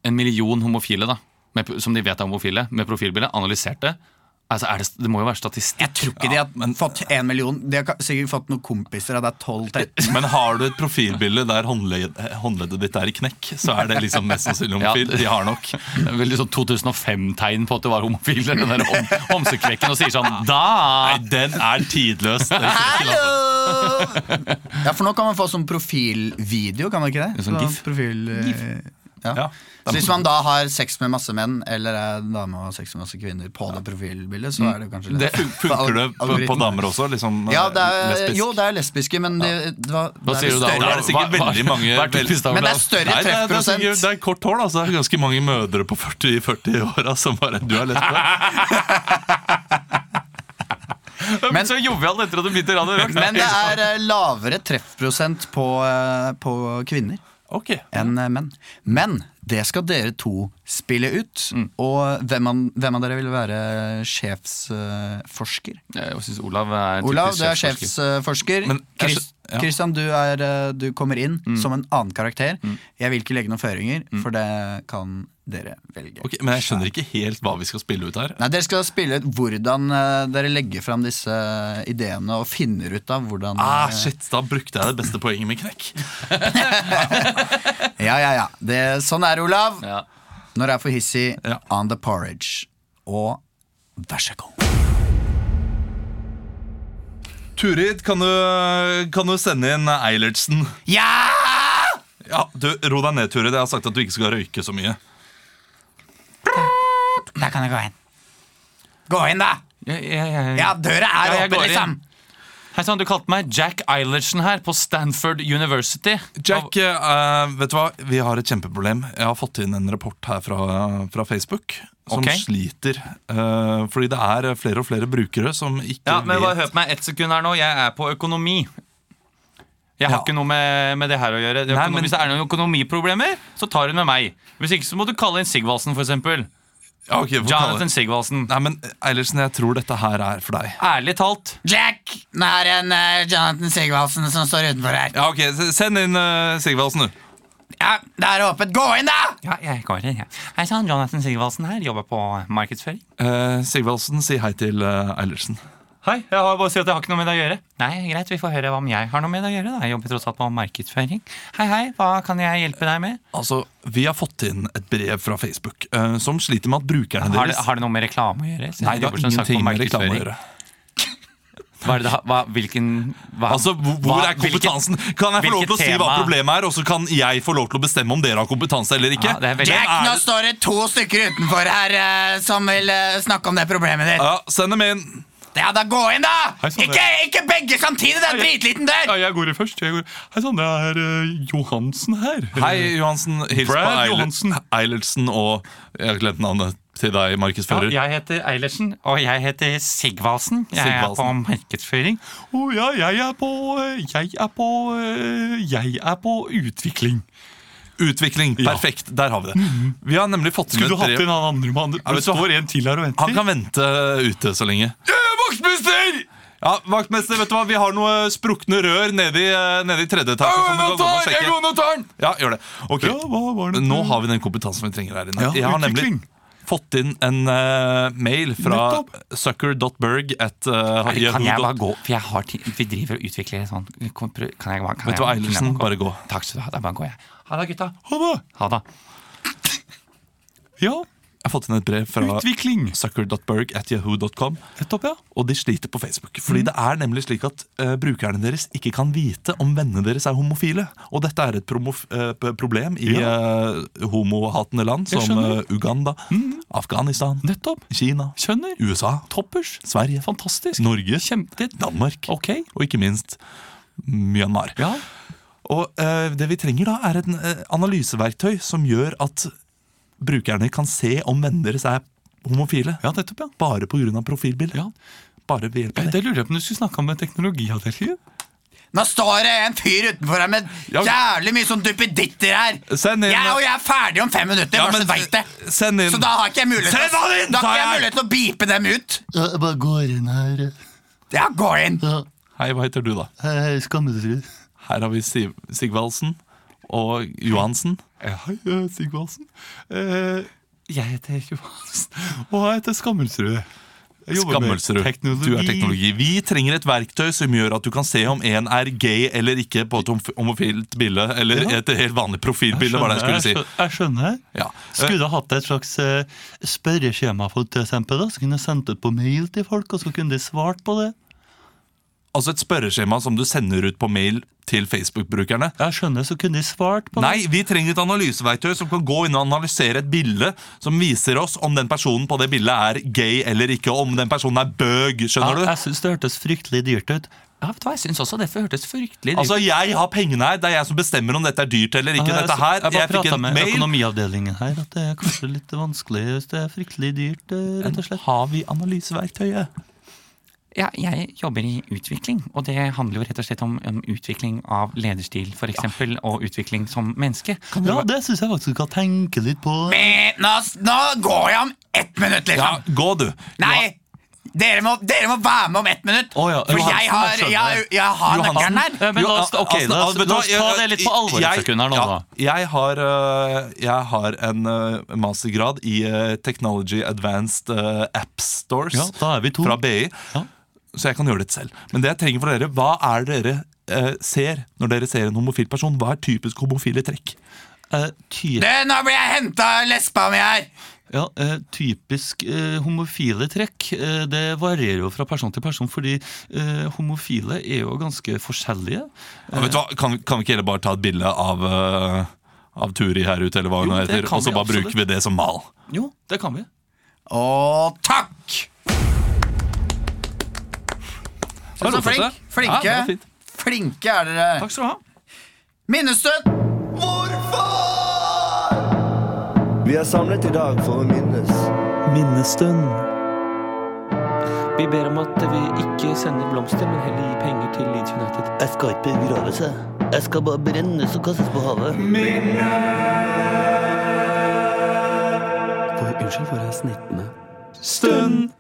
Speaker 3: en million homofile, da med, som de vet er homofile, med profilbilde, analysert det, Altså, er det, det må jo være statistikk.
Speaker 2: Jeg tror ikke de har fått én million. De har ka- sikkert fått noen kompiser av deg 12-13.
Speaker 4: Men har du et profilbilde der håndled- håndleddet ditt er i knekk, så er det liksom mest sannsynlig
Speaker 3: Ja.
Speaker 4: homofil. De har nok.
Speaker 3: Det er Veldig sånn 2005-tegn på at du var homofil. Den der om, homsekvekken og sier sånn da!
Speaker 4: Nei, den er tidløs. Den
Speaker 2: Ah.
Speaker 4: ser ikke langt.
Speaker 2: Ja, for nå kan man få sånn profilvideo, kan man ikke det?
Speaker 3: Sånn
Speaker 2: Så
Speaker 3: gif.
Speaker 2: Profil, eh, Ja.
Speaker 4: Ja.
Speaker 2: Så hvis man da har sex med masse menn, eller er dame og sex med masse kvinner på det profilbildet, så er det kanskje
Speaker 4: Det fun- funker det på, på damer også? Liksom,
Speaker 2: Ja, det er,
Speaker 4: lesbisk?
Speaker 2: Jo, det er lesbiske, men det, det, var-
Speaker 3: Hva
Speaker 2: det
Speaker 3: sier
Speaker 2: er
Speaker 3: du da?
Speaker 2: større-
Speaker 4: Da er det sikkert
Speaker 3: Hva- hva-
Speaker 4: veldig mange
Speaker 3: hva er typisk da,
Speaker 4: vel-
Speaker 2: Men det er
Speaker 3: Olav?
Speaker 2: større
Speaker 4: Nei, det er, det, er
Speaker 2: treffprosent.
Speaker 4: sikkert, det er kort hår, da, så det er ganske mange mødre på 40 40 år da, som bare Du er lesbe?
Speaker 3: Men så jovial etter at du begynte i Radio Rock.
Speaker 2: Men det er eh, lavere treffprosent på, eh, på kvinner
Speaker 4: Ok.
Speaker 2: enn eh, menn. Men det skal dere to spille ut. Og hvem av, hvem av dere vil være sjefsforsker?
Speaker 3: Jeg syns Olav er typisk
Speaker 2: Olav, du er
Speaker 3: sjefsforsker.
Speaker 2: sjefsforsker.
Speaker 4: Men jeg
Speaker 2: Chris-
Speaker 4: skjø- ja. Mm.
Speaker 2: Christian, du, er, eh, du kommer inn som en annen karakter. Jeg vil ikke legge noen føringer, for det kan dere velge.
Speaker 4: Ok, Men jeg skjønner ikke helt hva vi skal spille ut her.
Speaker 2: Nei, Dere skal spille ut hvordan eh, dere legger fram disse eh, ideene og finner ut av hvordan
Speaker 4: Ah,
Speaker 2: eh,
Speaker 4: shit, Da brukte jeg det beste poenget med knekk.
Speaker 2: Ja, ja, ja. Det, sånn er det, Olav.
Speaker 3: Ja.
Speaker 2: Når det er for hissig,
Speaker 4: Ja.
Speaker 2: on the porridge. Og vær så god.
Speaker 4: Turid, kan du, kan du sende inn Eilertsen?
Speaker 2: Ja!
Speaker 4: Ja, du, Ro deg ned, Turid. Jeg har sagt at du ikke skal røyke så mye.
Speaker 2: Da kan jeg gå inn. Gå inn, da!
Speaker 3: Ja, ja, ja, ja.
Speaker 2: Ja, døra er
Speaker 3: Ja, jeg
Speaker 2: åpen,
Speaker 3: går inn.
Speaker 2: liksom.
Speaker 3: Hei sann, du kalte meg Jack Eilertsen her på Stanford University.
Speaker 4: Jack, eh, vet du hva? vi har et kjempeproblem. Jeg har fått inn en rapport her fra, fra Facebook som
Speaker 3: Ok.
Speaker 4: sliter. eh, fordi det er flere og flere brukere som ikke
Speaker 3: Ja, men bare
Speaker 4: vet
Speaker 3: hør på meg ett sekund her nå. Jeg er på økonomi. Jeg har
Speaker 4: Ja.
Speaker 3: ikke noe med, med det her å gjøre. Det
Speaker 4: Nei,
Speaker 3: økonom-
Speaker 4: men-
Speaker 3: Hvis det er noen økonomiproblemer, så tar hun med meg. Hvis ikke så må du kalle inn Sigvaldsen, for eksempel.
Speaker 4: Ja, ok, vi får kalle det-
Speaker 3: Jonathan Sigvaldsen.
Speaker 4: Nei, men Eilertsen, jeg tror dette her er for deg.
Speaker 3: Ærlig talt.
Speaker 2: Jack! Det er en eh, Jonathan Sigvaldsen som står utenfor her.
Speaker 4: Ja, ok, s- Send inn uh, Sigvaldsen, du.
Speaker 2: Ja, det er åpent. Gå inn, da!
Speaker 3: Ja, jeg går inn, jeg. Hei sann, Jonathan Sigvaldsen her. Jobber på markedsføring.
Speaker 4: Eh, Sigvaldsen, si hei til eh, Eilertsen.
Speaker 3: Hei, jeg har bare si at jeg har ikke noe med det å gjøre. Nei, greit, vi får høre hva om jeg har noe med det å gjøre, da. Jeg jobber tross alt på markedsføring. Hei, hei, hva kan jeg hjelpe deg med?
Speaker 4: Altså, Vi har fått inn et brev fra Facebook eh, som sliter med at brukerne
Speaker 3: Har det,
Speaker 4: deres
Speaker 3: har det noe med reklame å gjøre? Siden
Speaker 4: Nei,
Speaker 3: du
Speaker 4: det
Speaker 3: jobber
Speaker 4: har
Speaker 3: som sagt på
Speaker 4: ingenting med reklame å
Speaker 3: markedsføring.
Speaker 4: gjøre.
Speaker 3: Hva er det, det har- hva, hvilken hva,
Speaker 4: Altså, hvor, hvor
Speaker 3: hva-
Speaker 4: er kompetansen? Kan jeg få lov
Speaker 3: hvilket
Speaker 4: til å si hva
Speaker 3: tema?
Speaker 4: problemet er, og så kan jeg få lov til å bestemme om dere har kompetanse eller ikke?
Speaker 3: Ja, det er veldig-
Speaker 2: Jack,
Speaker 4: Men
Speaker 2: nå
Speaker 4: er det-
Speaker 2: står det to stykker utenfor her eh, som vil eh, snakke om det problemet ditt.
Speaker 4: ja, Send dem inn.
Speaker 2: Ja, da gå inn, da!
Speaker 4: Hei, sann,
Speaker 2: Ikke, ikke begge samtidig! Det er en dritliten dør!
Speaker 4: jeg går i først. Hei sann, det er
Speaker 3: eh,
Speaker 4: Johansen her. Hei, Johansen. Hils på
Speaker 3: Brad
Speaker 4: Eilert-
Speaker 3: Johansen.
Speaker 4: Eilertsen og Jeg har glemt navnet til deg, markedsfører.
Speaker 3: Ja, jeg heter Eilertsen, og jeg heter Sigvaldsen. Jeg er på
Speaker 4: Sigvaldsen.
Speaker 3: markedsføring.
Speaker 4: Å ja, jeg er på
Speaker 3: eh,
Speaker 4: Jeg er på Jeg er på utvikling. Utvikling. Perfekt. Der har vi det.
Speaker 3: Mhm.
Speaker 4: Vi har nemlig fått Skulle
Speaker 3: han andre mann?
Speaker 4: Ja, vet du hva?
Speaker 3: en til her og venter.
Speaker 4: Han kan vente ute så lenge. vaktmester! Ja, vaktmester, vet du hva? Vi har noe sprukne rør nede i, eh, nede i tredje etasje. som du kan gå og sjekke.
Speaker 3: og tar den!
Speaker 4: Ja, gjør det. Ok,
Speaker 3: var det?
Speaker 4: Nå har vi den kompetansen vi trenger her inne.
Speaker 3: Ja,
Speaker 4: Jeg har nemlig
Speaker 3: utvikling.
Speaker 4: fått inn en eh, mail fra
Speaker 3: Nettopp.
Speaker 4: sucker.berg at uh,
Speaker 3: Kan jeg bare gå? For jeg har ti- vi driver og utvikler en sånn Kan jeg bare kan jeg,
Speaker 4: Vet du hva,
Speaker 3: kunne jeg
Speaker 4: Eilertsen,
Speaker 3: gå?
Speaker 4: bare gå.
Speaker 3: Takk skal du ha. Da bare går jeg. Ha det, gutta.
Speaker 4: Ha det!
Speaker 3: Ha det.
Speaker 4: Ja. Jeg har fått inn et brev fra
Speaker 3: Utvikling.
Speaker 4: sucker.berg at yahoo.com,
Speaker 3: Nettopp, ja.
Speaker 4: og de sliter på Facebook.
Speaker 3: Mm.
Speaker 4: Fordi det er nemlig slik at eh, brukerne deres ikke kan vite om vennene deres er homofile. Og dette er et promof eh, p- problem i eh, homohatende land
Speaker 3: Jeg
Speaker 4: som
Speaker 3: skjønner. Mm.
Speaker 4: eh, Uganda, Afghanistan,
Speaker 3: Nettopp.
Speaker 4: Kina,
Speaker 3: Skjønner.
Speaker 4: USA,
Speaker 3: Toppers.
Speaker 4: Sverige,
Speaker 3: Fantastisk.
Speaker 4: Norge,
Speaker 3: Kjempe...
Speaker 4: Danmark
Speaker 3: Ok.
Speaker 4: og ikke minst Myanmar.
Speaker 3: Ja.
Speaker 4: Og eh, det vi trenger da er et eh, analyseverktøy som gjør at brukerne kan se om vennene deres er homofile.
Speaker 3: Ja, nettopp, ja.
Speaker 4: Bare pga. profilbildet.
Speaker 3: Ja.
Speaker 4: Bare ved hjelp av det.
Speaker 3: Det lurer jeg på om du skulle snakke om med teknologiavdelingen.
Speaker 2: Nå står det en fyr utenfor her med
Speaker 4: Ja.
Speaker 2: jævlig mye sånn duppeditter her.
Speaker 4: Send inn-
Speaker 2: Jeg og jeg er ferdig om fem minutter,
Speaker 4: Ja,
Speaker 2: bare så
Speaker 4: men-
Speaker 2: du vet det.
Speaker 4: send inn-
Speaker 2: Så da har ikke jeg mulighet
Speaker 4: Send han inn,
Speaker 2: da har
Speaker 4: sa
Speaker 2: ikke jeg
Speaker 4: jeg.
Speaker 2: mulighet til å beepe dem ut.
Speaker 8: bare går inn her.
Speaker 2: Ja, gå inn.
Speaker 4: Hei, hva heter du, da?
Speaker 8: Hei, hei, Skammetrud.
Speaker 4: Her har vi Siv Sigvaldsen og Johansen. Hei,
Speaker 8: Eh,
Speaker 4: Sigvaldsen. jeg heter Johansen, og jeg heter Skammelsrud. Jeg jobber med
Speaker 3: Skammelsrud.
Speaker 4: Teknologi. Du er teknologi. Vi trenger et verktøy som gjør at du kan se om en er gay eller ikke på et homf- homofilt bilde. Eller et helt vanlig profilbilde, var det jeg skulle si.
Speaker 8: skjønner, jeg skjønner.
Speaker 4: Ja. Eh,
Speaker 8: Skulle ha hatt et slags eh, spørreskjema for det, eksempel, da, så kunne jeg sendt ut på mail til folk, og så kunne de svart på det.
Speaker 4: altså et spørreskjema som du sender ut på mail til Facebook-brukerne.
Speaker 8: Jeg skjønner, så kunne de svart på
Speaker 4: Nei, vi trenger et analyseverktøy som kan gå inn og analysere et bilde som viser oss om den personen på det bildet er gay eller ikke, om den personen er bøg.
Speaker 8: det.
Speaker 4: Skjønner
Speaker 8: Jeg,
Speaker 4: du?
Speaker 8: jeg syns det hørtes fryktelig dyrt ut.
Speaker 3: Ja, vet du hva, jeg synes også Dette hørtes fryktelig
Speaker 4: Altså, Jeg har pengene her. Det er jeg som bestemmer om dette er dyrt eller ikke. Dette her,
Speaker 8: jeg
Speaker 4: jeg
Speaker 8: bare
Speaker 4: fikk
Speaker 8: prata
Speaker 4: en
Speaker 8: med
Speaker 4: mail.
Speaker 8: økonomiavdelingen her, at det er kanskje litt vanskelig hvis det er fryktelig dyrt, eh, rett og slett.
Speaker 4: Har vi analyseverktøyet?
Speaker 3: Ja, jeg jobber i utvikling, og det handler jo rett og slett om, om utvikling av lederstil, for eksempel, og utvikling som menneske.
Speaker 8: Ja, det syns jeg faktisk du kan tenke litt på.
Speaker 2: Eh, Nå, nå går jeg om ett minutt,
Speaker 4: Ja,
Speaker 2: liksom.
Speaker 4: gå, du.
Speaker 2: Nei! Dere må, dere må være med om ett minutt!
Speaker 8: Å ja,
Speaker 2: for
Speaker 8: Johansen,
Speaker 2: jeg har,
Speaker 8: jeg skjønner
Speaker 2: jeg, jeg har
Speaker 8: Johansen.
Speaker 2: nøkkelen her.
Speaker 3: Ja, men la oss, ok,
Speaker 4: Asle,
Speaker 3: la oss,
Speaker 4: Asle,
Speaker 3: la oss ta det litt på alvor et
Speaker 4: jeg-
Speaker 3: sekund her nå,
Speaker 4: ja,
Speaker 3: da.
Speaker 4: Jeg har, øh, jeg har en øh, mastergrad i øh, Technology Advanced øh, App Stores
Speaker 8: Ja, da er vi to.
Speaker 4: fra BI,
Speaker 8: Ja.
Speaker 4: så jeg kan gjøre det selv. Men det jeg trenger for dere, hva er det dere øh, ser når dere ser en homofil person? Hva er typisk homofile trekk?
Speaker 8: Eh, ty
Speaker 2: Du, nå blir jeg henta av lesba mi her!
Speaker 8: ja, eh, typisk eh, homofile trekk. Eh, det varierer jo fra person til person, fordi eh, homofile er jo ganske forskjellige.
Speaker 4: Ja, vet du hva, kan, kan vi ikke heller bare ta et bilde av, øh, av Turi her ute, eller hva hun
Speaker 8: Jo, det
Speaker 4: heter,
Speaker 8: kan
Speaker 4: og så
Speaker 8: vi
Speaker 4: bare
Speaker 8: absolutt.
Speaker 4: bruker vi det som mal?
Speaker 8: Jo, det kan vi.
Speaker 2: Å, takk! Så flink, flinke,
Speaker 4: Ja, det var fint.
Speaker 2: flinke er dere.
Speaker 3: Takk skal du ha.
Speaker 2: Minnestund!
Speaker 9: Vi er samlet i dag for å minnes.
Speaker 10: Minnestund. Vi ber om at vi ikke sender blomster, men heller gir penger til Leeds United.
Speaker 8: Jeg skal ikke begraves, jeg. Jeg skal bare brennes og kastes på havet.
Speaker 10: For, unnskyld for jeg er snittende.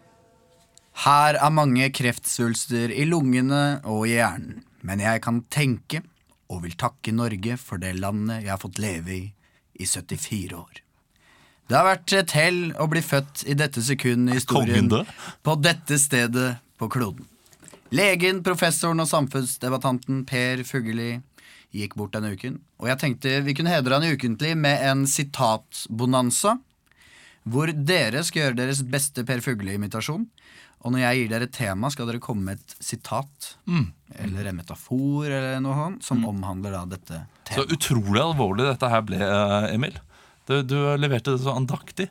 Speaker 2: Her er mange kreftsvulster i lungene og i hjernen. Men jeg kan tenke og vil takke Norge for det landet jeg har fått leve i i 74 år. Det har vært et hell å bli født i dette sekundet i historien
Speaker 4: kongen død?
Speaker 2: på dette stedet på kloden. Legen, professoren og samfunnsdebattanten Per Fugelli gikk bort denne uken, og jeg tenkte vi kunne hedre han ukentlig med en sitatbonanza hvor dere skal gjøre deres beste Per Fugle-imitasjon. Og når jeg gir dere et tema, skal dere komme med et sitat
Speaker 4: Mm.
Speaker 2: eller en metafor eller noe sånt, som omhandler da dette
Speaker 4: Så
Speaker 2: temaet.
Speaker 4: utrolig alvorlig dette her ble, eh, Emil. Du, du leverte det så andaktig.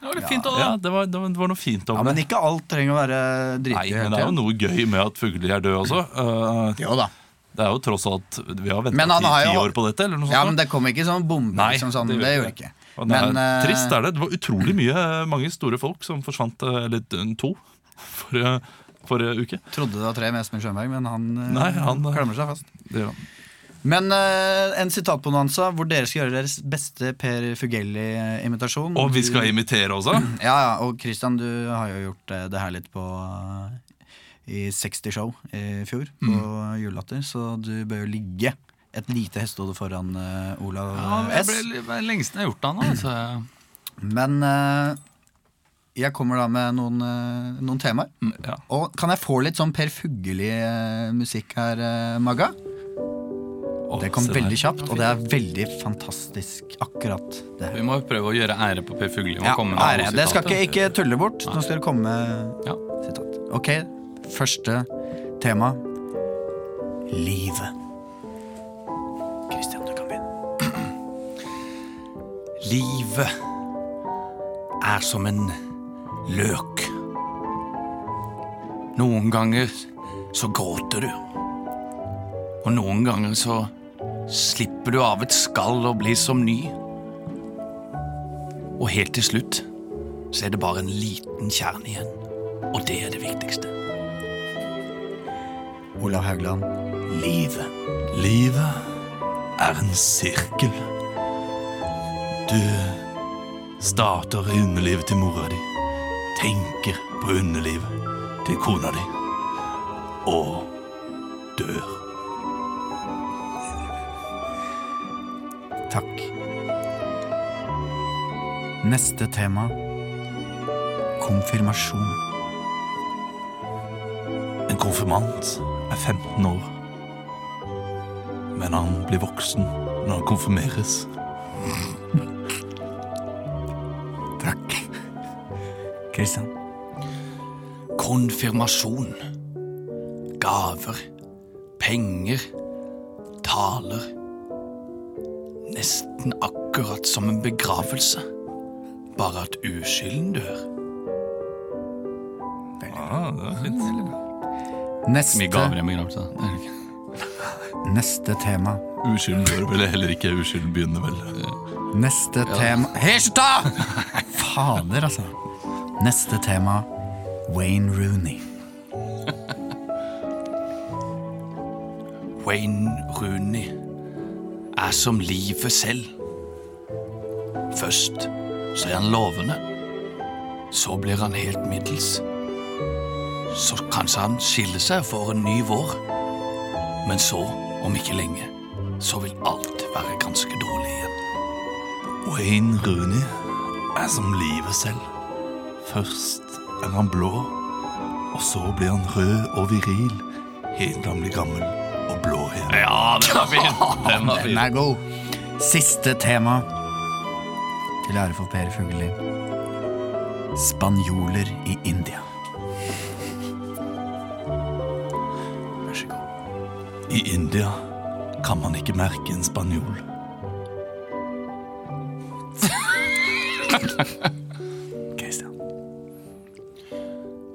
Speaker 3: Det var litt fint
Speaker 4: Ja, det var, det var- det var noe fint
Speaker 2: Ja,
Speaker 4: over
Speaker 2: Men
Speaker 4: det.
Speaker 2: ikke alt trenger å være
Speaker 4: Nei,
Speaker 2: dritgøy
Speaker 4: men
Speaker 2: hele
Speaker 4: det er jo
Speaker 2: tiden.
Speaker 4: noe gøy med at Fugli er død også. Eh,
Speaker 2: Jo da.
Speaker 4: det er jo tross alt Vi har venta
Speaker 2: Men han har
Speaker 4: ti, ti
Speaker 2: jo-
Speaker 4: år på dette, eller noe sånt.
Speaker 2: Ja, men det kom ikke sånn bombe,
Speaker 4: Nei,
Speaker 2: liksom sånn. Det,
Speaker 4: det gjorde
Speaker 2: gjorde
Speaker 4: det.
Speaker 2: ikke.
Speaker 4: Og det er
Speaker 2: men, eh,
Speaker 4: trist er det. Det var utrolig mye, eh, mange store folk som forsvant, eh, eller eh, to, forrige, forrige eh, uke.
Speaker 2: Trodde det var tre med Espen Sjøberg, men han, eh,
Speaker 4: Nei, han, eh,
Speaker 2: klamrer seg fast.
Speaker 4: Det, ja.
Speaker 2: Men eh, en sitatbonanza hvor dere skal gjøre deres beste Per Fugelli-imitasjon.
Speaker 4: Og vi
Speaker 2: Du-
Speaker 4: skal imitere også.
Speaker 2: Ja, ja, og Christian, du har jo gjort eh, det her litt på eh, I 60 Show i fjor, på
Speaker 4: Mm.
Speaker 2: julelatter, så du bør jo ligge et lite hestehode foran eh, Olav eh,
Speaker 3: Jeg
Speaker 2: S.
Speaker 3: ble det er lenge siden jeg har gjort det nå. Altså.
Speaker 2: Men eh, jeg kommer da med noen, eh, noen temaer.
Speaker 4: Mm, Ja.
Speaker 2: Og kan jeg få litt sånn Per Fugelli-musikk her, eh, Magga?
Speaker 4: Å,
Speaker 2: Det kom
Speaker 4: se der.
Speaker 2: veldig kjapt, og det er veldig fantastisk akkurat det her.
Speaker 3: Vi må prøve å gjøre ære på Per Fugli.
Speaker 2: Ja, ære. Det skal ikke, ikke tulle bort. Nå skal dere komme med
Speaker 3: Ja.
Speaker 2: sitat. Ok, første tema. Livet. Kristian, du kan begynne.
Speaker 10: Livet er som en løk. Noen ganger så gråter du. Og noen ganger så slipper du av et skall og blir som ny. Og helt til slutt så er det bare en liten kjerne igjen. Og det er det viktigste.
Speaker 2: Olav Haugland. Livet.
Speaker 4: Livet er en sirkel. Du starter i underlivet til mora di, tenker på underlivet til kona di og dør.
Speaker 2: Takk. Neste tema. Konfirmasjon.
Speaker 4: konfirmant er 15 år. Men han blir voksen når han konfirmeres.
Speaker 8: Takk. Kristian. Konfirmasjon. Gaver. Penger. Taler. Nesten akkurat som en begravelse. Bare at uskylden dør.
Speaker 11: Ah, det var fint.
Speaker 2: Neste,
Speaker 3: Mye gaver i
Speaker 8: eh,
Speaker 3: en begravelse. da. Det er det ikke.
Speaker 2: neste tema.
Speaker 4: Uskylden dør vel heller ikke. Uskylden begynner vel.
Speaker 2: Neste tema Hysjta! Fader, altså. Neste tema Wayne Rooney.
Speaker 8: Wayne Rooney er som livet selv. Først så er han lovende. Så blir han helt middels. Så kanskje han skiller seg og får en ny vår. Men så, om ikke lenge, så vil alt være ganske dårlig igjen.
Speaker 4: Wayne Rooney er som livet selv. Først er han blå, og så blir han rød og viril helt til han blir gammel og blå igjen.
Speaker 3: Ja, den var fin! Den var
Speaker 2: Den
Speaker 3: fin.
Speaker 2: er god. Siste tema til ære for Per Fugelli. Spanjoler i India.
Speaker 4: I India kan man ikke merke en spanjol.
Speaker 2: Christian.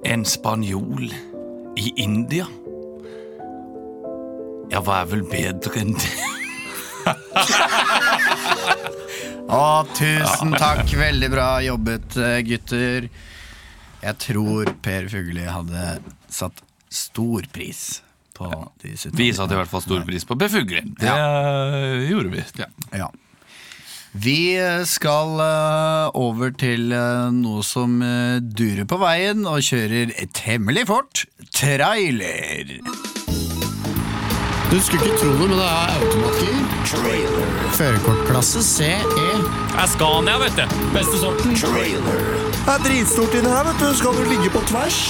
Speaker 8: En spanjol i India? Ja, hva er vel bedre enn det?
Speaker 2: Å, tusen takk. Veldig bra jobbet, eh, gutter. Jeg tror Per Fugelli hadde satt stor pris på disse
Speaker 3: Vi satte i hvert fall stor pris på befugling.
Speaker 4: Det eh, gjorde vi.
Speaker 2: Ja. Vi eh, skal eh, over til eh, noe som eh, durer på veien og kjører temmelig fort. Trailer.
Speaker 12: Du skulle ikke tro det, men det er automatgir. Førerkortklasse E. CE.
Speaker 13: Scania, vet du. Beste sorten.
Speaker 14: Det er dritstort inni her, vet du. Skal du ligge på tvers?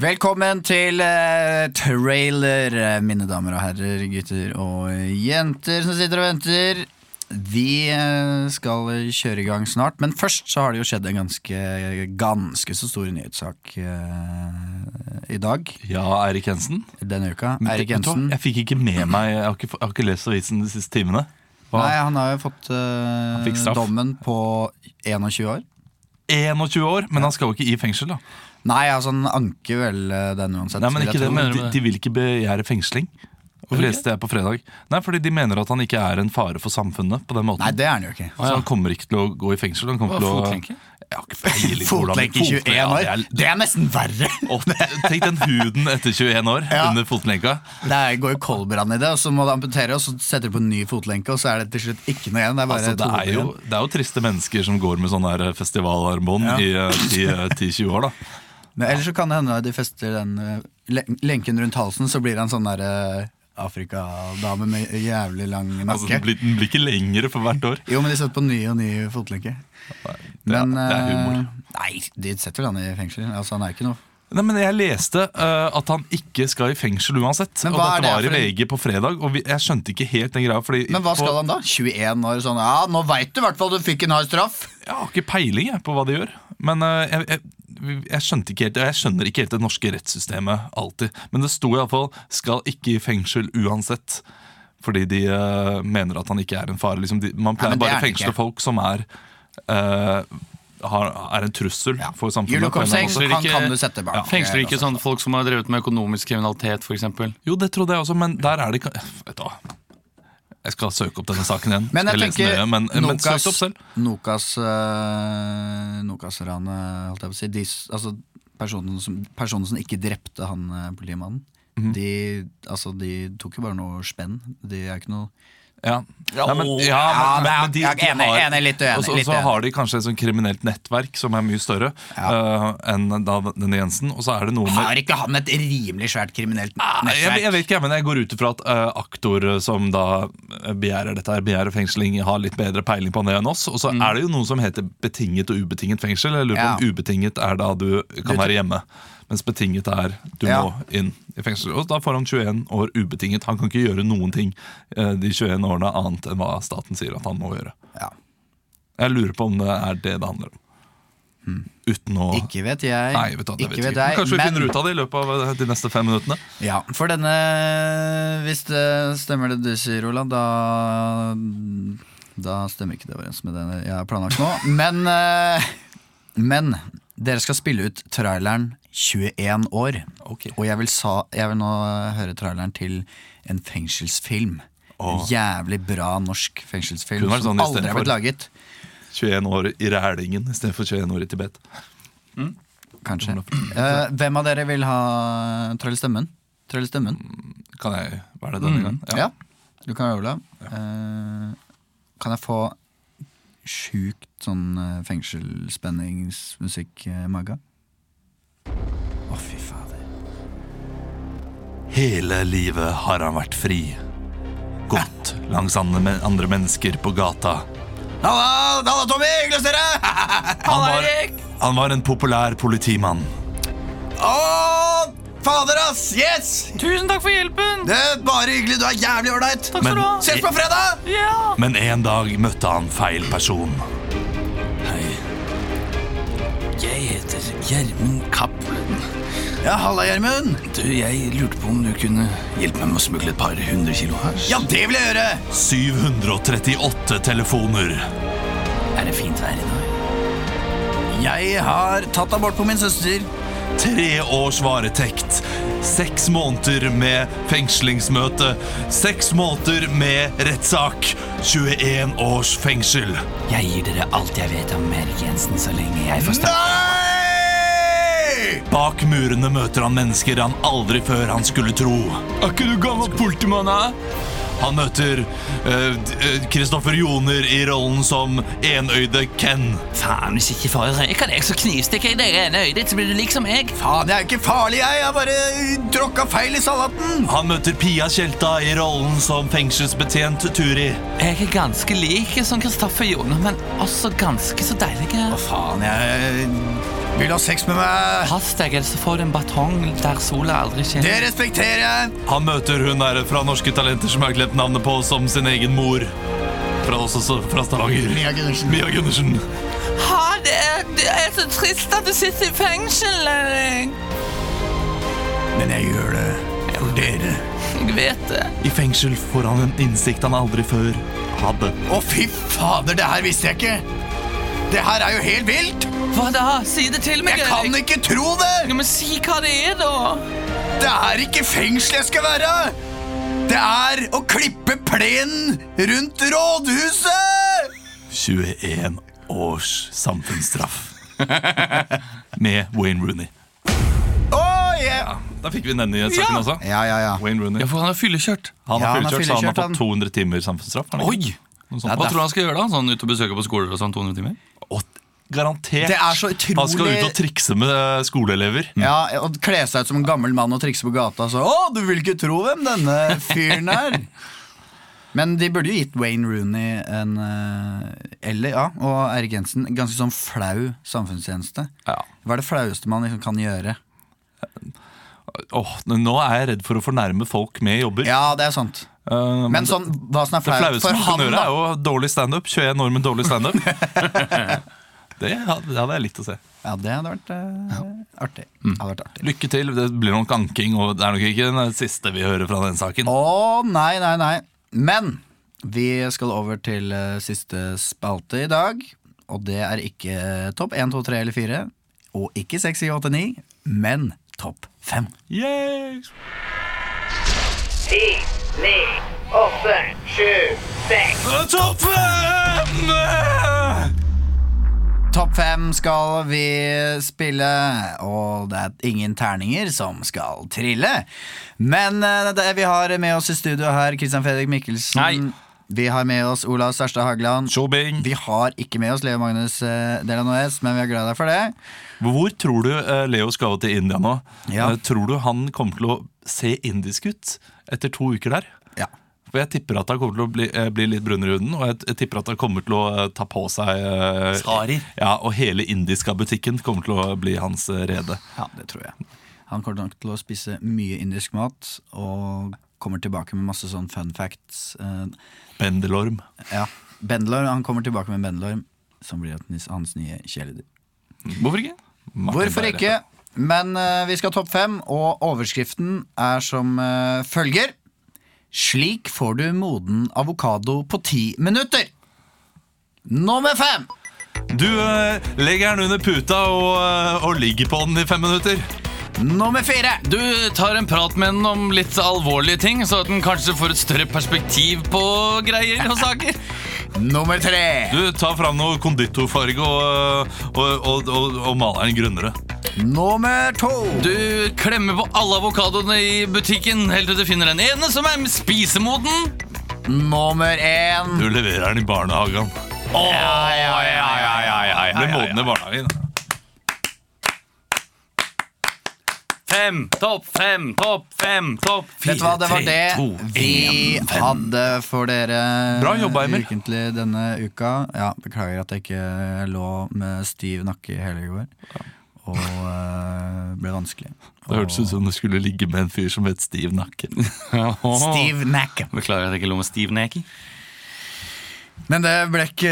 Speaker 2: Velkommen til eh, trailer, eh, mine damer og herrer, gutter og jenter som sitter og venter. Vi eh, skal kjøre i gang snart, men først så har det jo skjedd en ganske, ganske så stor nyhetssak eh, i dag.
Speaker 4: Ja, Eirik Jensen.
Speaker 2: Denne uka.
Speaker 4: Men
Speaker 2: Eirik
Speaker 4: vet du hva?
Speaker 2: Jensen.
Speaker 4: Jeg fikk ikke med meg Jeg har ikke, jeg har ikke lest avisen de siste timene. Hva?
Speaker 2: Nei, han har jo fått eh,
Speaker 4: fikk straff.
Speaker 2: dommen på 21 år.
Speaker 4: 21 år, men han skal jo ikke i fengsel, da.
Speaker 2: Nei, altså han anker vel eh, den uansett.
Speaker 4: Nei, men
Speaker 2: vil jeg
Speaker 4: ikke det,
Speaker 2: tro.
Speaker 4: men de, de vil ikke begjære fengsling. Og leste jeg på fredag Nei, fordi de mener at han ikke er en fare for samfunnet. på den måten
Speaker 2: Nei, det er han jo ikke.
Speaker 4: Så han kommer ikke til å gå i fengsel. Han kommer til å Jeg har ikke peiling på hvordan-
Speaker 2: Fotlenke i 21
Speaker 4: Ja,
Speaker 2: år,
Speaker 4: det er-
Speaker 2: det er nesten verre!
Speaker 4: Å, Tenk den huden etter 21 år
Speaker 2: Ja.
Speaker 4: under fotlenka.
Speaker 2: Det er- går jo koldbrann i det, og så må du amputere, og så setter du på en ny fotlenke, og så er det til slutt ikke noe igjen. Det er bare
Speaker 4: Altså, det,
Speaker 2: to
Speaker 4: er
Speaker 2: hoder
Speaker 4: jo,
Speaker 2: igjen.
Speaker 4: det er jo triste mennesker som går med sånne her festivalarmbånd i eh, 10 10-20 år. da
Speaker 2: Men Ellers så kan det hende at de fester den eh, len- lenken rundt halsen, så blir han sånn derre Afrikadame med jævlig lang
Speaker 4: altså, den,
Speaker 2: nakke.
Speaker 4: blir, den blir ikke lengre for hvert år.
Speaker 2: Jo, men de setter på ny og ny fotlenke.
Speaker 4: Det er, det er humor.
Speaker 2: eh, Nei, de setter vel han i fengsel. Altså, han er ikke noe
Speaker 4: Nei, men Jeg leste eh, at han ikke skal i fengsel uansett.
Speaker 2: Men
Speaker 4: og
Speaker 2: hva er
Speaker 4: Dette var
Speaker 2: det
Speaker 4: i
Speaker 2: for en-
Speaker 4: VG på fredag, og vi, jeg skjønte ikke helt den greia. Fordi
Speaker 2: Men hva
Speaker 4: på,
Speaker 2: skal han da? 21 år sånn Ja, nå veit du i hvert fall du fikk en hard straff!
Speaker 4: Jeg har ikke peiling jeg, på hva de gjør. Men eh, jeg, jeg, jeg skjønte ikke helt Jeg skjønner ikke helt det norske rettssystemet alltid. Men det sto iallfall 'skal ikke i fengsel uansett'. Fordi de eh, mener at han ikke er en fare. Liksom de, man
Speaker 2: Nei,
Speaker 4: pleier
Speaker 2: men det er
Speaker 4: bare å
Speaker 2: han
Speaker 4: fengsle
Speaker 2: ikke.
Speaker 4: folk som er eh, har, er en trussel for
Speaker 2: Gjør
Speaker 4: samfunnet.
Speaker 2: noe
Speaker 4: på en eller annen
Speaker 2: Så han kan du sette bak.
Speaker 3: Fengsler ikke sånn folk som har drevet med økonomisk kriminalitet, f.eks.?
Speaker 4: måte. Jo, det trodde jeg også, men der er det ikke Vet du hva. Jeg skal søke opp denne saken igjen.
Speaker 2: Men jeg
Speaker 4: Skal lese den
Speaker 2: tenker
Speaker 4: nøye, men, men søk
Speaker 2: Nokas,
Speaker 4: det opp selv.
Speaker 2: Nokas eh, Nokas-ranet, holdt jeg på å si. De, s- altså, personen, som, personen som ikke drepte han eh,
Speaker 4: Mhm.
Speaker 2: politimannen, de, altså, de tok jo bare noe spenn. De er ikke noe
Speaker 4: Ja, Nei, men, ja,
Speaker 2: Ja,
Speaker 4: men, men, men de,
Speaker 2: jeg er
Speaker 4: de
Speaker 2: enig,
Speaker 4: har,
Speaker 2: enig, litt uenig,
Speaker 4: Og så-
Speaker 2: litt
Speaker 4: og så
Speaker 2: uenig.
Speaker 4: har de kanskje et sånt kriminelt nettverk som er mye større eh, enn da denne Jensen. Og så er det noe med
Speaker 2: Har ikke han et rimelig svært kriminelt
Speaker 4: Nei, Ah, Jeg, jeg
Speaker 2: nettverk?
Speaker 4: vet ikke, men jeg går ut ifra at eh, aktor som da eh, begjærer dette her, begjærer fengsling, har litt bedre peiling på det enn oss. Og så er det jo noe som heter betinget og ubetinget fengsel. Jeg lurer på
Speaker 2: Mm. Ja.
Speaker 4: om ubetinget er da du kan være hjemme, mens betinget er du
Speaker 2: Ja.
Speaker 4: må inn i fengsel. Og da får han 21 år ubetinget. Han kan ikke gjøre noen ting eh, de 21 årene annet enn hva staten sier at han må gjøre. Jeg lurer på om det er det det handler om. Uten å
Speaker 2: Hmm. Ikke vet jeg.
Speaker 4: Nei, vet du, hva, det
Speaker 2: Ikke
Speaker 4: vet jeg
Speaker 2: vet
Speaker 4: ikke.
Speaker 2: jeg,
Speaker 4: Kanskje vi
Speaker 2: men-
Speaker 4: finner ut av det i løpet av eh, de neste fem minuttene.
Speaker 2: Ja, for denne Hvis det stemmer det du sier, Olav, da Da stemmer ikke det overens med det jeg har planlagt nå. Men, eh, men dere skal spille ut traileren 21 år. Og jeg vil, sa, jeg vil nå høre traileren til en fengselsfilm. En
Speaker 4: Åh.
Speaker 2: jævlig bra norsk fengselsfilm
Speaker 4: Kunne vært
Speaker 2: som
Speaker 4: sånn i
Speaker 2: aldri
Speaker 4: stedet
Speaker 2: er blitt
Speaker 4: for-
Speaker 2: laget.
Speaker 4: 21 år i Rælingen istedenfor 21 år i Tibet.
Speaker 2: Kanskje. Eh, hvem av dere vil ha Trell Stemmen? Trell Stemmen?
Speaker 4: Kan jeg være det denne gangen?
Speaker 2: Ja. du kan være Olav. Eh, kan jeg få sjukt sånn eh, fengselsspenningsmusikk eh, i magen? Å, fy fader.
Speaker 4: Hele livet har han vært fri. Gått langs andre, men- andre mennesker på gata.
Speaker 2: Halla, halla Tommy! Hyggelig å se dere!
Speaker 4: Han var, han var en populær politimann.
Speaker 2: Å, fader, ass! Yes!
Speaker 15: Tusen takk for hjelpen!
Speaker 2: Det er bare hyggelig. Du er jævlig ålreit.
Speaker 4: skal du ha.
Speaker 2: Ses på fredag!
Speaker 15: Ja!
Speaker 4: Men en dag møtte han feil person.
Speaker 3: Jeg heter Gjermund Cappelen.
Speaker 2: Ja, halla, Gjermund.
Speaker 3: Du, jeg lurte på om du kunne hjelpe meg med å smugle et par hundre kilo hasj?
Speaker 2: Ja, det vil jeg gjøre!
Speaker 4: 738 telefoner.
Speaker 3: Er det fint vær i dag?
Speaker 2: Jeg har tatt abort på min søster.
Speaker 4: Tre års varetekt. Seks måneder med fengslingsmøte. Seks måneder med rettssak. 21 års fengsel.
Speaker 3: Jeg gir dere alt jeg vet om Erik Jensen, så lenge jeg får snakke.
Speaker 2: Nei!
Speaker 4: Bak murene møter han mennesker han aldri før han skulle tro. Er ikke du gammel politimann, hæ? Han møter eh, Kristoffer Joner i rollen som enøyde Ken.
Speaker 3: Faen, hvis ikke far røyker deg, så knivstikker jeg deg i ene øyet ditt, så blir du liksom meg.
Speaker 2: Faen, jeg er ikke farlig, jeg. Jeg har bare tråkka feil i salaten.
Speaker 4: Han møter Pia Tjelta i rollen som fengselsbetjent Turi.
Speaker 3: Jeg er ganske lik som Kristoffer Joner, men også ganske så deilig.
Speaker 2: Faen, jeg vil ha sex med meg.
Speaker 3: Pass deg, ellers så får du en batong der sola aldri
Speaker 2: Det
Speaker 3: skinner.
Speaker 2: respekterer jeg.
Speaker 4: Han møter hun der fra Norske Talenter som jeg har glemt navnet på som sin egen mor. Fra, også, så- fra Stavanger.
Speaker 2: Mia Gundersen.
Speaker 4: Mia Gundersen.
Speaker 15: Ha, det, er, det er så trist at du sitter i fengsel. Erik.
Speaker 2: Men jeg gjør det for dere.
Speaker 15: Jeg vet det.
Speaker 4: I fengsel får han en innsikt han aldri før hadde.
Speaker 2: Å, fy fader, det her visste jeg ikke. Det her er jo helt vilt.
Speaker 15: Hva da? Si det til meg,
Speaker 2: Jeg kan ikke tro det.
Speaker 15: Ja, men si hva det er, da.
Speaker 2: Det er ikke fengsel jeg skal være. Det er å klippe plenen rundt rådhuset.
Speaker 4: 21 års samfunnsstraff. Med Wayne Rooney.
Speaker 2: Oh, yeah.
Speaker 4: Da fikk vi den i saken også.
Speaker 2: Ja, ja, ja.
Speaker 4: Wayne Rooney.
Speaker 16: Ja, for han er fyllekjørt.
Speaker 4: Han
Speaker 2: Ja,
Speaker 4: har
Speaker 2: han har
Speaker 4: fyllekjørt, så han har
Speaker 2: fyllekjørt, han.
Speaker 4: fått 200 timer samfunnsstraff. har han ikke?
Speaker 16: Oi!
Speaker 4: Noe sånt.
Speaker 16: Hva tror du han skal gjøre da? Sånn ut og besøke på skoler og sånn 200 timer?
Speaker 4: Og garantert
Speaker 2: Det er så
Speaker 4: han skal ut og
Speaker 2: utrolig
Speaker 4: trikse med eh, skoleelever.
Speaker 2: Ja, og kle seg ut som en gammel mann og trikse på gata. Så, å, du vil ikke tro hvem denne fyren er. Men de burde jo gitt Wayne Rooney en eh, Eller, ja, og Erik Jensen en ganske sånn flau samfunnstjeneste.
Speaker 4: Ja.
Speaker 2: Hva er det flaueste man liksom kan gjøre?
Speaker 4: Åh, nå er jeg redd for å fornærme folk med jobber.
Speaker 2: Ja, det er sant.
Speaker 4: Eh,
Speaker 2: Men sånn, hva som er
Speaker 4: det
Speaker 2: flaut
Speaker 4: flaueste
Speaker 2: for
Speaker 4: man kan
Speaker 2: han,
Speaker 4: gjøre,
Speaker 2: da.
Speaker 4: er jo dårlig standup. 21 år med dårlig standup. det hadde det hadde jeg likt å se.
Speaker 2: Ja, det hadde vært eh, artig. Hadde vært artig.
Speaker 4: Lykke til. Det blir nok anking, og det er nok ikke den siste vi hører fra den saken.
Speaker 2: Å, nei, nei, nei. Men vi skal over til eh, siste spalte i dag. Og det er ikke eh, topp 1, 2, 3 eller 4. Og ikke 6, 7, 8, 9, men topp 5.
Speaker 4: Yay!
Speaker 8: Ti, ni, åtte, sju, seks.
Speaker 4: Topp fem!
Speaker 2: Topp 5 skal vi spille, og det er ingen terninger som skal trille. Men eh, det, vi har med oss i studio her Christian Fredrik Mikkelsen.
Speaker 16: Nei.
Speaker 2: Vi har med oss Olav Sørstad Hageland. Vi har ikke med oss Leo Magnus eh, Delanoes, men vi er glad i deg for det.
Speaker 4: Hvor tror du eh, Leo skal til India nå?
Speaker 2: Ja.
Speaker 4: Eh, Tror du han kommer til å se indisk ut etter to uker der?
Speaker 2: Ja.
Speaker 4: For jeg tipper at han kommer til å bli, eh, bli litt brunere i huden, og jeg, jeg tipper at han kommer til å eh, ta på seg eh,
Speaker 2: Sari.
Speaker 4: Ja, og hele indiska-butikken kommer til å bli hans eh, rede.
Speaker 2: Ja, det tror jeg. Han kommer nok til å spise mye indisk mat og kommer tilbake med masse sånn fun facts. eh,
Speaker 4: Bendelorm.
Speaker 2: Ja, Bendelorm, Han kommer tilbake med Bendelorm, som blir hans- hans nye kjæledyr.
Speaker 4: Hvorfor ikke?
Speaker 2: Hvorfor ikke? Men eh, vi skal ha topp fem, og overskriften er som eh, følger. Slik får du moden avokado på ti minutter. Nummer fem!
Speaker 4: Du eh, legger den under puta og, eh, og ligger på den i fem minutter.
Speaker 2: Nummer fire.
Speaker 3: Du tar en prat med den om litt alvorlige ting, så at den kanskje får et større perspektiv på greier og saker.
Speaker 2: Nummer tre.
Speaker 4: Du tar fram noe konditorfarge og, eh, og, og, og, og maler den grønnere.
Speaker 2: Nummer to.
Speaker 3: Du klemmer på alle avokadoene i butikken helt til du finner den ene som er spisemoden.
Speaker 2: Nummer én.
Speaker 4: Du leverer den i barnehagen.
Speaker 2: Ja, ja, ja, ja, ja, ja,
Speaker 4: Den Blir moden i barnehagen.
Speaker 3: Fem, topp fem, topp fem, topp fire,
Speaker 2: Vet du hva, det var
Speaker 3: tre,
Speaker 2: det
Speaker 3: to,
Speaker 2: vi
Speaker 3: en, fem.
Speaker 2: hadde for dere
Speaker 3: Bra jobba, Emil.
Speaker 2: ukentlig denne uka. Ja, Beklager at jeg ikke lå med stiv nakke hele i går. Og eh, ble vanskelig.
Speaker 4: Det hørtes ut som du skulle ligge med en fyr som het Stiv Nakke.
Speaker 2: Stiv nakke.
Speaker 3: Beklager at jeg ikke lå med stiv nakke.
Speaker 2: Men det ble ikke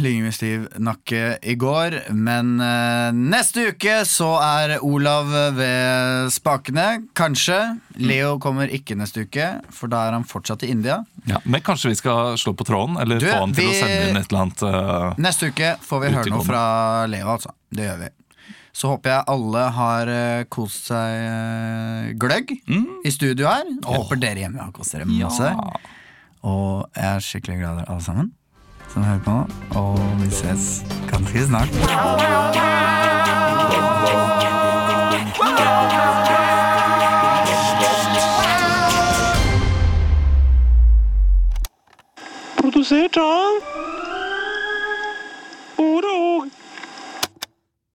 Speaker 2: ligging med stiv nakke i går. Men eh, neste uke så er Olav ved spakene, kanskje. Leo kommer ikke neste uke, for da er han fortsatt i India.
Speaker 4: Ja, men kanskje vi skal slå på tråden, eller
Speaker 2: Du,
Speaker 4: få han til
Speaker 2: vi-
Speaker 4: å sende inn et eller annet. eh,
Speaker 2: Neste uke får vi høre noe
Speaker 4: Utegående.
Speaker 2: fra Leo, altså. Det gjør vi. Så håper jeg alle har eh, kost seg eh, gløgg i studio her. Og håper dere hjemme har kost dere masse. Og jeg er skikkelig glad i dere alle sammen som hører på. Og vi ses ganske snart.
Speaker 17: Produsert av